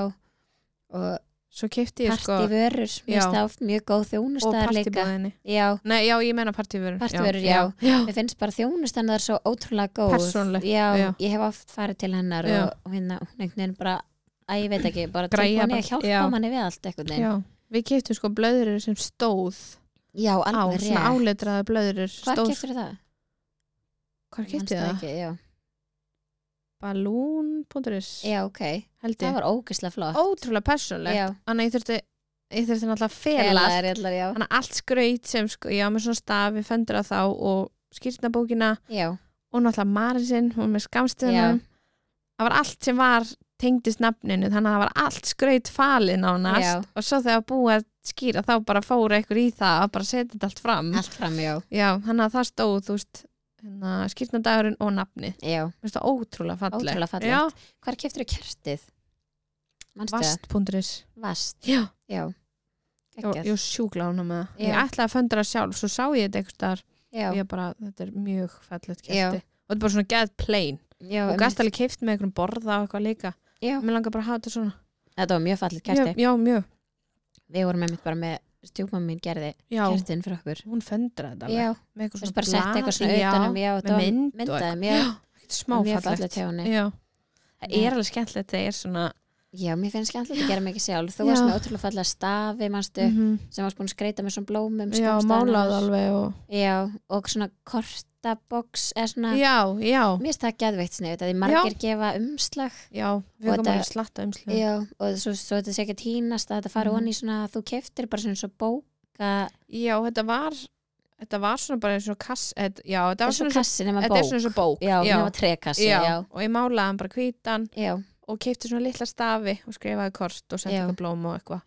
Speaker 1: og
Speaker 2: svo kefti ég sko
Speaker 1: partívörur, mér
Speaker 2: Já.
Speaker 1: finnst það oft mjög góð
Speaker 2: og
Speaker 1: þjónustæðar líka
Speaker 2: partibúðinni
Speaker 1: já,
Speaker 2: nei, já, ég menna partíverur
Speaker 1: Partívörur, já. Mér finnst bara þjónustan það er svo ótrúlega góð.
Speaker 2: Persónuleg,
Speaker 1: Já,
Speaker 2: já.
Speaker 1: ég hef oft farið til hennar
Speaker 2: Já.
Speaker 1: og, og hérna, hún einhvern veginn bara, að ég veit ekki, bara
Speaker 2: Græja
Speaker 1: tilbúin í
Speaker 2: bara-
Speaker 1: að hjálpa
Speaker 2: já.
Speaker 1: manni við allt einhvern veginn.
Speaker 2: Já, við keftum sko blöðurur sem stóð
Speaker 1: Já,
Speaker 2: á,
Speaker 1: alveg
Speaker 2: svona
Speaker 1: rétt.
Speaker 2: áletraða blöðurur
Speaker 1: Hvað
Speaker 2: stóð,
Speaker 1: keftur það?
Speaker 2: Hvar
Speaker 1: Manstu
Speaker 2: kefti það?
Speaker 1: Ekki, já.
Speaker 2: Balloon.is
Speaker 1: já, ok.
Speaker 2: held
Speaker 1: Það
Speaker 2: ég,
Speaker 1: var ógislega flott.
Speaker 2: ótrúlega persónlegt
Speaker 1: Já,
Speaker 2: þannig að ég þurfti ég þurfti náttúrulega að fela allt.
Speaker 1: Felar, allar, já.
Speaker 2: þannig að allt skraut sem sko, ég á með svona stafi, fendur á þá og skýrtnabókina
Speaker 1: Já,
Speaker 2: og náttúrulega Marin sinn, hún með
Speaker 1: já,
Speaker 2: skamstöðunum það var allt sem var tengdist nafninu þannig að það var allt skraut falin á
Speaker 1: Já.
Speaker 2: næst og svo þegar búið að skýra þá bara fóru einhver í það að bara setja þetta allt fram
Speaker 1: allt fram, já.
Speaker 2: já, þannig að það stóð þú veist hérna, skýrtnadagurinn og nafni
Speaker 1: Já,
Speaker 2: Mér finnst það ótrúlega falleg
Speaker 1: Ótrúlega fallegt.
Speaker 2: já,
Speaker 1: hvar keftur þú kertið? Manstu það?
Speaker 2: vast.is
Speaker 1: Vast.
Speaker 2: já,
Speaker 1: Já.
Speaker 2: ég var- ég
Speaker 1: Geggjað.
Speaker 2: var sjúklána með það
Speaker 1: Já.
Speaker 2: ég ætlaði að föndra sjálf, svo sá ég þetta einhvers staðar
Speaker 1: Já,
Speaker 2: ég bara, þetta er mjög fallegt
Speaker 1: Já.
Speaker 2: kerti og þetta er bara svona geðt plain
Speaker 1: já,
Speaker 2: og
Speaker 1: einmitt.
Speaker 2: gæst alveg keift með einhverjum borða og eitthvað líka
Speaker 1: Já.
Speaker 2: mér langar bara að hafa þetta svona
Speaker 1: Þetta var mjög fallið kerti.
Speaker 2: já, já, mjög
Speaker 1: Við vorum einmitt bara með stjúpmann mín gerði
Speaker 2: já,
Speaker 1: kertin fyrir okkur.
Speaker 2: hún föndraði þetta alveg
Speaker 1: Já,
Speaker 2: með
Speaker 1: þú
Speaker 2: eitthvað
Speaker 1: veist
Speaker 2: svona
Speaker 1: bara sett eitthvað svona utanum, já, þetta
Speaker 2: með
Speaker 1: var
Speaker 2: mynd og
Speaker 1: myndaðum,
Speaker 2: já,
Speaker 1: já.
Speaker 2: ekkert smá
Speaker 1: Mjög fallið
Speaker 2: fallegt
Speaker 1: hjá henni.
Speaker 2: já, það
Speaker 1: Nei.
Speaker 2: er alveg skemmtilegt það er svona
Speaker 1: Já, mér finnst skemmtilegt að gera mikið sjálf. Þú
Speaker 2: Já.
Speaker 1: varst með ótrúlega fallega stafi, manstu,
Speaker 2: Mhm.
Speaker 1: sem varst búin að skreita með svona blómum.
Speaker 2: já,
Speaker 1: skamstaðar
Speaker 2: málað
Speaker 1: hennar.
Speaker 2: alveg og
Speaker 1: Já, og svona kortaboks, eða svona,
Speaker 2: já, já,
Speaker 1: mér finnst það geðveikt sniðu, þetta er margir gefa umslag.
Speaker 2: já
Speaker 1: Og
Speaker 2: við komum
Speaker 1: þetta-
Speaker 2: alveg slatta umslega
Speaker 1: Já, og svo, svo þetta sé ekki að týnast að þetta fara
Speaker 2: Mhm.
Speaker 1: onni í svona, þú keftir bara svona svo bóka,
Speaker 2: já, þetta var þetta var svona bara eins og kass þetta- já, þetta var
Speaker 1: þessu
Speaker 2: svona
Speaker 1: kassi nema
Speaker 2: þetta er
Speaker 1: bók.
Speaker 2: svona eins og bók
Speaker 1: Já, nema trekassi,
Speaker 2: já,
Speaker 1: já.
Speaker 2: og ég málaði hann bara hvítan
Speaker 1: Já,
Speaker 2: og keipti svona litla stafi og skrifaði kort og sendi
Speaker 1: Já.
Speaker 2: eitthvað blóm og eitthvað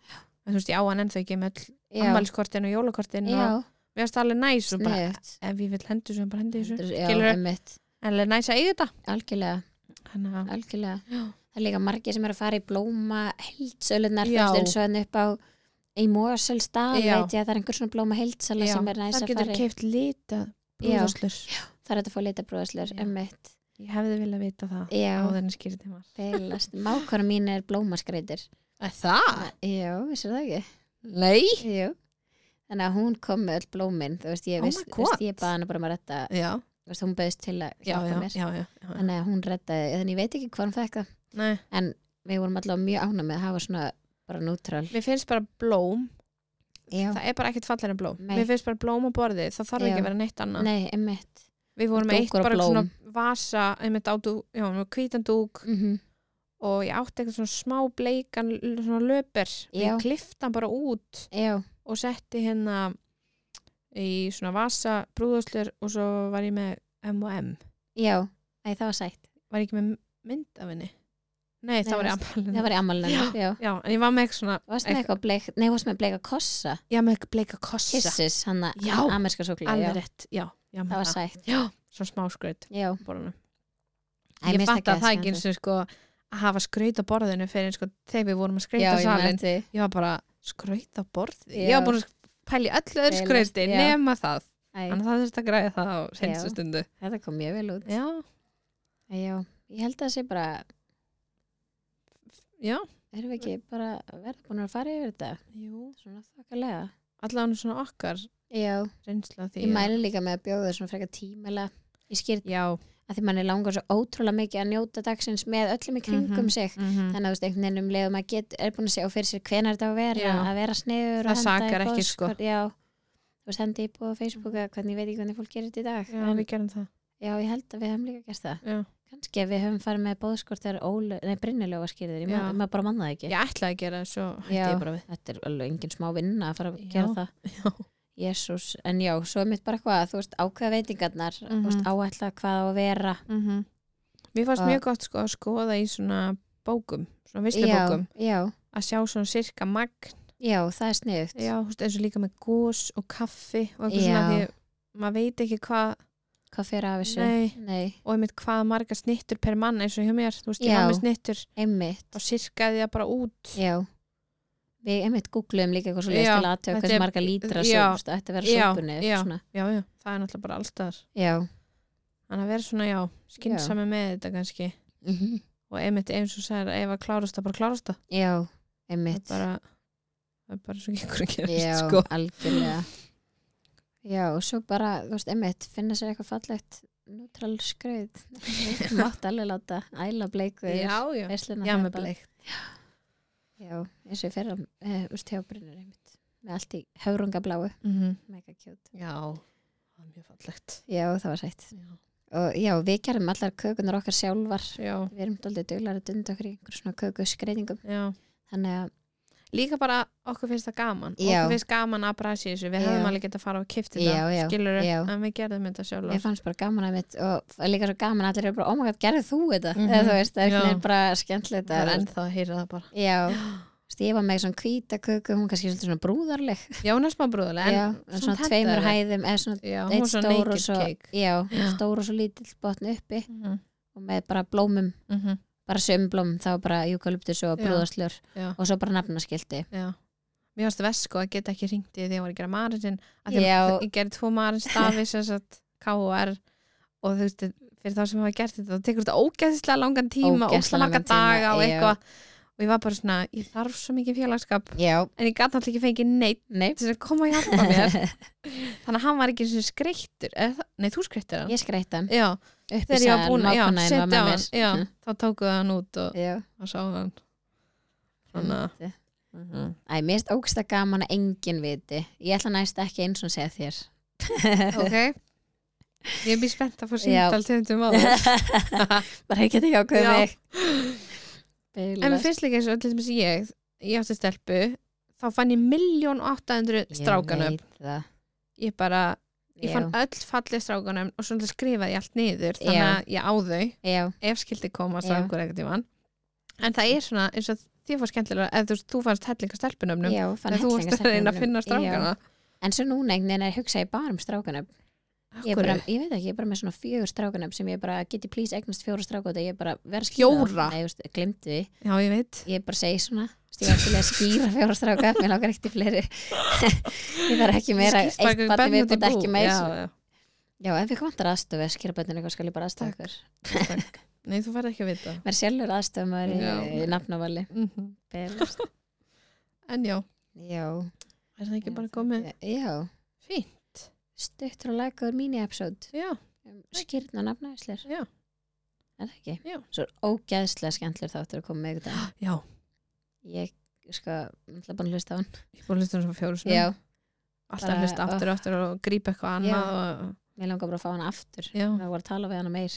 Speaker 2: en þú veist, ég á hann ennþá ekki með
Speaker 1: já,
Speaker 2: ammæliskortin og jólakortin
Speaker 1: já,
Speaker 2: og við varst alveg næs og bara,
Speaker 1: sniðut.
Speaker 2: ef ég vil hendi þessu, bara hendi þessu
Speaker 1: Já,
Speaker 2: skilurðu?
Speaker 1: einmitt,
Speaker 2: en alveg næs að eiga þetta
Speaker 1: algjörlega,
Speaker 2: þannig að,
Speaker 1: algjörlega.
Speaker 2: já,
Speaker 1: Það er líka margir sem eru að fara í blóma heildsölunar, þú
Speaker 2: Já.
Speaker 1: veist, eins og hann upp á í Mósel stað,
Speaker 2: Já.
Speaker 1: veit ég að það er einhver svona blóma heildsala sem er næs
Speaker 2: þar
Speaker 1: að
Speaker 2: getur
Speaker 1: fara í.
Speaker 2: keipt lita brúðaslur
Speaker 1: Það er þetta að fá leita brúðaslur,
Speaker 2: Já.
Speaker 1: emmitt.
Speaker 2: ég hefði viljað vita það
Speaker 1: Já,
Speaker 2: áður en skýrði þeim var
Speaker 1: feilast. Mákvara mín er blómaskreitir.
Speaker 2: að það?
Speaker 1: Já, vissir það ekki?
Speaker 2: nei
Speaker 1: Jú. Þannig að hún kom með öll blómin, þú veist, ég,
Speaker 2: Oh my
Speaker 1: viss, þú
Speaker 2: God.
Speaker 1: veist, ég baði hana bara um að retta,
Speaker 2: já,
Speaker 1: þú veist, hún bauðist til að
Speaker 2: já, já,
Speaker 1: hjálpa mér.
Speaker 2: já, já, já.
Speaker 1: Þannig að hún rettaði, þannig ég veit ekki hvað hún fekk það.
Speaker 2: Nei.
Speaker 1: En við vorum allavega mjög ánum með að hafa svona bara nútrál.
Speaker 2: mér finnst bara blóm
Speaker 1: Já,
Speaker 2: það er bara ekkert fallar en blóm
Speaker 1: Nei.
Speaker 2: mér finnst bara blóm á borðið, það þarf
Speaker 1: Já.
Speaker 2: ekki að vera neitt annað
Speaker 1: nei, emmitt.
Speaker 2: Við vorum með eitt
Speaker 1: Dúkur og
Speaker 2: bara
Speaker 1: blóm.
Speaker 2: svona vasa, einmitt á dú, já, með hvítan dúk
Speaker 1: Mm
Speaker 2: og ég átti eitthvað svona smá bleikan l- svona löper og
Speaker 1: Já.
Speaker 2: ég klifti hann bara út
Speaker 1: Já,
Speaker 2: og setti hérna í svona vasa brúðuslur og svo var ég með M&M.
Speaker 1: já, Æ, það var sætt.
Speaker 2: Var ég ekki með mynd af henni? Nei,
Speaker 1: Nei,
Speaker 2: það var í
Speaker 1: Það
Speaker 2: ammálinu.
Speaker 1: var í ammálinu, já.
Speaker 2: Mhm. Já, en ég var með eitthvað svona,
Speaker 1: Varst með
Speaker 2: Eitthvað.
Speaker 1: eitthvað bleik, nei, varst með bleika kossa,
Speaker 2: já, með eitthvað bleika kossa.
Speaker 1: kissis, hann að
Speaker 2: Já.
Speaker 1: amerska súkulega, já.
Speaker 2: Alveg rétt, já. já með
Speaker 1: Það var sætt,
Speaker 2: Já, svona smá skraut
Speaker 1: já.
Speaker 2: á borðinu.
Speaker 1: Æ,
Speaker 2: Ég
Speaker 1: mér
Speaker 2: fatt að
Speaker 1: stakkaði
Speaker 2: það ekki eins
Speaker 1: skemmtilegt.
Speaker 2: og sko að hafa skraut á borðinu fyrir sko þegar við vorum að
Speaker 1: Já,
Speaker 2: skreita
Speaker 1: ég
Speaker 2: salin
Speaker 1: man því.
Speaker 2: ég var bara skraut á borð
Speaker 1: Já.
Speaker 2: ég var búin að pæli öll öðru
Speaker 1: Feilast,
Speaker 2: skrauti
Speaker 1: já.
Speaker 2: nema það,
Speaker 1: Æ,
Speaker 2: þannig að það þurfti að græða það á senstu
Speaker 1: Já.
Speaker 2: stundu
Speaker 1: þetta kom mjög vel út.
Speaker 2: já,
Speaker 1: Æ, já, ég held að það sé bara,
Speaker 2: já,
Speaker 1: erum við ekki bara verða búin að fara yfir þetta?
Speaker 2: jú
Speaker 1: Svona þokkalega.
Speaker 2: allan svona okkar
Speaker 1: Já,
Speaker 2: reynsla af því
Speaker 1: ég mæli líka með að bjóða þér svona frekar tímala í skýrt
Speaker 2: já,
Speaker 1: að því manni langar svo ótrúlega mikið að njóta dagsins með öllum í kringum
Speaker 2: Mhm.
Speaker 1: sig.
Speaker 2: mhm.
Speaker 1: þannig að þú veist einhvern veginn um leið og maður get, er búin að sjá fyrir sér hvenar þetta á að vera
Speaker 2: Já.
Speaker 1: að vera sniður
Speaker 2: Það sakar ekki, sko.
Speaker 1: já, þú veist hendi í búið á Facebooka hvernig ég veit ekki hvernig fólk gerir þetta í dag
Speaker 2: já,
Speaker 1: en,
Speaker 2: við gerum það
Speaker 1: já, ég held að við höfum líka gert það
Speaker 2: já.
Speaker 1: kannski að við höfum farið með bóðskort þegar ólu, nei, brinnilega skýrður, ég
Speaker 2: Já.
Speaker 1: ma- maður bara manna það ekki
Speaker 2: ég ætlaði að gera það, svo hætti
Speaker 1: Já.
Speaker 2: ég bara við
Speaker 1: þetta er alveg engin smá vinna að fara að
Speaker 2: Já.
Speaker 1: gera það
Speaker 2: Já.
Speaker 1: Jésús, en já, svo er mitt bara hvað þú veist ákveða veitingarnar
Speaker 2: Mhm.
Speaker 1: þú veist áætla hvað á að vera
Speaker 2: mér
Speaker 1: Mhm.
Speaker 2: fannst
Speaker 1: Og-
Speaker 2: mjög gott sko að skoða í svona bókum, svona vislubókum
Speaker 1: já, já,
Speaker 2: að sjá svona sirka magn
Speaker 1: já, það er sniðugt
Speaker 2: já, þú veist, eins og líka með gós og kaffi og eitthvað svona
Speaker 1: Já.
Speaker 2: því maður veit ekki hvað
Speaker 1: hvað fyrir af þessu
Speaker 2: Nei.
Speaker 1: nei
Speaker 2: og einmitt hvað marga snittur per mann eins og hjá mér, þú veist, ég
Speaker 1: Já.
Speaker 2: var með snittur
Speaker 1: einmitt
Speaker 2: og sirkaði það bara út
Speaker 1: Já Við einmitt googluðum líka eitthvað svo leiðist
Speaker 2: Já,
Speaker 1: til aðtöða
Speaker 2: þetta
Speaker 1: hversu
Speaker 2: er-
Speaker 1: marga lítra
Speaker 2: já,
Speaker 1: sópust ætti að vera
Speaker 2: já,
Speaker 1: sópunni
Speaker 2: já.
Speaker 1: svona.
Speaker 2: já, já, það er náttúrulega bara allstaðar
Speaker 1: Já.
Speaker 2: þannig að vera svona, já, skynsami með þetta kannski og einmitt eins og sagði, ef að klárast það, bara klárast það
Speaker 1: já,
Speaker 2: það
Speaker 1: einmitt
Speaker 2: er bara, það er bara svo ekki ykkur að
Speaker 1: Já,
Speaker 2: gerast, sko
Speaker 1: algjörlega Já, og svo bara, þú veist, einmitt finna sér eitthvað fallegt neutral skrauð Mátt alveg láta æla bleiku yfir
Speaker 2: já, já,
Speaker 1: veisluna,
Speaker 2: já,
Speaker 1: það er
Speaker 2: með
Speaker 1: bara-
Speaker 2: bleik
Speaker 1: Já, eins og eh, ég fyrir að úst hjábrinnur einmitt með allt í höfrungabláu Mega kjót
Speaker 2: já, það er mjög fallegt
Speaker 1: Já, það var sætt
Speaker 2: já,
Speaker 1: Og já, við gerum allar kökunar okkar sjálfar
Speaker 2: já,
Speaker 1: við erum doldið duglar að dunda okkur í einhver svona köku skreitingum
Speaker 2: já.
Speaker 1: þannig að
Speaker 2: líka bara okkur finnst það gaman
Speaker 1: Já.
Speaker 2: okkur finnst gaman að brasi þessu við
Speaker 1: Já.
Speaker 2: hefðum alveg getað að fara og kipta
Speaker 1: Já, já,
Speaker 2: þetta skilur
Speaker 1: já.
Speaker 2: en við gerðum þetta
Speaker 1: Ég
Speaker 2: sjálf
Speaker 1: fannst bara gaman að mitt og það er líka svo gaman að allir eru bara, oh my god, gerðu þú þetta
Speaker 2: Mhm.
Speaker 1: eða þú veist, það er einhvern
Speaker 2: Já.
Speaker 1: veginn bara skemmtilegt
Speaker 2: það
Speaker 1: að
Speaker 2: er ennþá að heyra það bara
Speaker 1: Já, Þú veist, ég var með svona hvítaköku, hún kannski svolítið svona brúðarleg
Speaker 2: já, hún er smá brúðulega
Speaker 1: Já,
Speaker 2: en,
Speaker 1: en svona tveimur hæðum eða svona
Speaker 2: já, hún
Speaker 1: eitt
Speaker 2: er svona
Speaker 1: stór og
Speaker 2: naked
Speaker 1: svo
Speaker 2: cake
Speaker 1: já,
Speaker 2: Já.
Speaker 1: stór og svo lítill botn uppi
Speaker 2: Mhm,
Speaker 1: og með bara blómum,
Speaker 2: mhm,
Speaker 1: bara sömblóm þá bara júkaluptus og
Speaker 2: Já.
Speaker 1: brúðarslur
Speaker 2: Já.
Speaker 1: og svo bara nafnaskildi
Speaker 2: já Mér varst vesko að geta ekki ringt í því að ég var að gera marinsinn að því
Speaker 1: Já.
Speaker 2: að ég gerði tvo marinstafi sem sagt K.O.R. og þú veist, fyrir þá sem hafa gert þetta þá tekur þetta ógeðslega langan tíma
Speaker 1: Ógeðslega
Speaker 2: ógeðslega
Speaker 1: langan
Speaker 2: langan
Speaker 1: tíma,
Speaker 2: daga og
Speaker 1: já.
Speaker 2: eitthvað og ég var bara svona, ég þarf svo mikið félagskap
Speaker 1: Já,
Speaker 2: en ég gæti alltaf ekki fengið neitt
Speaker 1: nei,
Speaker 2: til að koma að hjálpa mér þannig að hann var ekki eins og skreittur eða það- nei, þú skreittir hann
Speaker 1: ég skreitt hann
Speaker 2: já,
Speaker 1: upp í
Speaker 2: þegar ég var
Speaker 1: sæðan,
Speaker 2: búin já,
Speaker 1: mákonaðin var
Speaker 2: setja
Speaker 1: með
Speaker 2: á
Speaker 1: mér Mhm.
Speaker 2: hann já, þá tókuðu hann út og,
Speaker 1: Já.
Speaker 2: og sá hann svona
Speaker 1: Fyndi.
Speaker 2: mm
Speaker 1: Æ, mér erst ógsta gaman að enginn viti Ég ætla næst ekki eins og segja þér
Speaker 2: ok ég er býr spennt að fá
Speaker 1: Já.
Speaker 2: síndal tegundum á það
Speaker 1: Bara ég get ekki ákveð
Speaker 2: Já.
Speaker 1: mig
Speaker 2: en mér
Speaker 1: Bilast.
Speaker 2: finnst líka eins og allir sem ég ég átti stelpu, þá fann ég 1.800.000 strákanum
Speaker 1: Ég veit það
Speaker 2: ég bara, ég
Speaker 1: Já,
Speaker 2: fann öll fallið strákanum og svona skrifaði ég allt niður þannig
Speaker 1: Já.
Speaker 2: að ég á þau
Speaker 1: já,
Speaker 2: ef skildi koma
Speaker 1: Já.
Speaker 2: strákur eitthvað tímann en það er svona eins og því fór skemmtilega eða þú, veist, þú fannst hellinga stelpunöfnum
Speaker 1: já fann
Speaker 2: þegar þú varst að reyna að finna
Speaker 1: Já.
Speaker 2: strákana
Speaker 1: En svo núna einhvern veginn er hugsa ég bara um strákanöfn ég, er
Speaker 2: Af
Speaker 1: bara,
Speaker 2: hverju?
Speaker 1: ég veit ekki, ég er bara með svona fjögur strákanöfn sem ég bara geti please eignast fjóra stráka og það ég bara verð
Speaker 2: Fjóra?
Speaker 1: Nei, just, glimti því
Speaker 2: já ég veit
Speaker 1: ég bara segi svona þú veist, ég var til í að skýra fjóra stráka mér langar ekkert í fleiri ég þarf ekki meira
Speaker 2: Skýrt bara
Speaker 1: eitt
Speaker 2: hvað
Speaker 1: bati
Speaker 2: börn
Speaker 1: við
Speaker 2: út í
Speaker 1: búið
Speaker 2: bú.
Speaker 1: ekki meir
Speaker 2: Já,
Speaker 1: já,
Speaker 2: já,
Speaker 1: ef við vantar aðstofi að skýra bönninu eitthvað skal ég bara aðstofa
Speaker 2: Takk.
Speaker 1: ykkur
Speaker 2: takk. nei þú færð ekki að vita
Speaker 1: mér er sjálfur aðstofa maður í,
Speaker 2: Já.
Speaker 1: í nafnavali
Speaker 2: Mhm.
Speaker 1: Belast.
Speaker 2: en já,
Speaker 1: já,
Speaker 2: er það ekki
Speaker 1: Já,
Speaker 2: bara komið
Speaker 1: já
Speaker 2: fín
Speaker 1: stuttur og lagur mini-episode
Speaker 2: já,
Speaker 1: um skýrn og nafnavislir
Speaker 2: Já.
Speaker 1: er það ekki?
Speaker 2: Já.
Speaker 1: svo er ógeðslega skemmtlur þáttur að koma með ykkur dag
Speaker 2: já,
Speaker 1: ég sko, náttúrulega búin að hlusta á hann
Speaker 2: ég er búin að hlusta um svo fjóru sinni
Speaker 1: já,
Speaker 2: alltaf
Speaker 1: bara-
Speaker 2: hlusta aftur og aftur og grípa eitthvað
Speaker 1: Já.
Speaker 2: annað og,
Speaker 1: mér langar bara að fá hann aftur
Speaker 2: já.
Speaker 1: við vorum að tala við hann um meir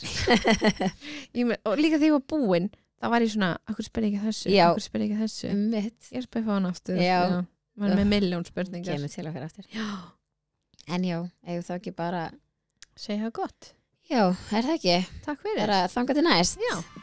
Speaker 2: Ég me- og líka því ég var búin þá var ég svona, akkur spyr ég ekki að þessu
Speaker 1: Já.
Speaker 2: akkur spyr ég ekki að þessu
Speaker 1: um mitt
Speaker 2: Ég er spæðið að fá hana aftur.
Speaker 1: Já.
Speaker 2: Mér er með milljón spurningar.
Speaker 1: kemur til okkar aftur
Speaker 2: Já.
Speaker 1: en já, eigum þá ekki bara
Speaker 2: Segja það gott.
Speaker 1: já, er það ekki,
Speaker 2: Takk fyrir.
Speaker 1: bara þanga til næst
Speaker 2: Já.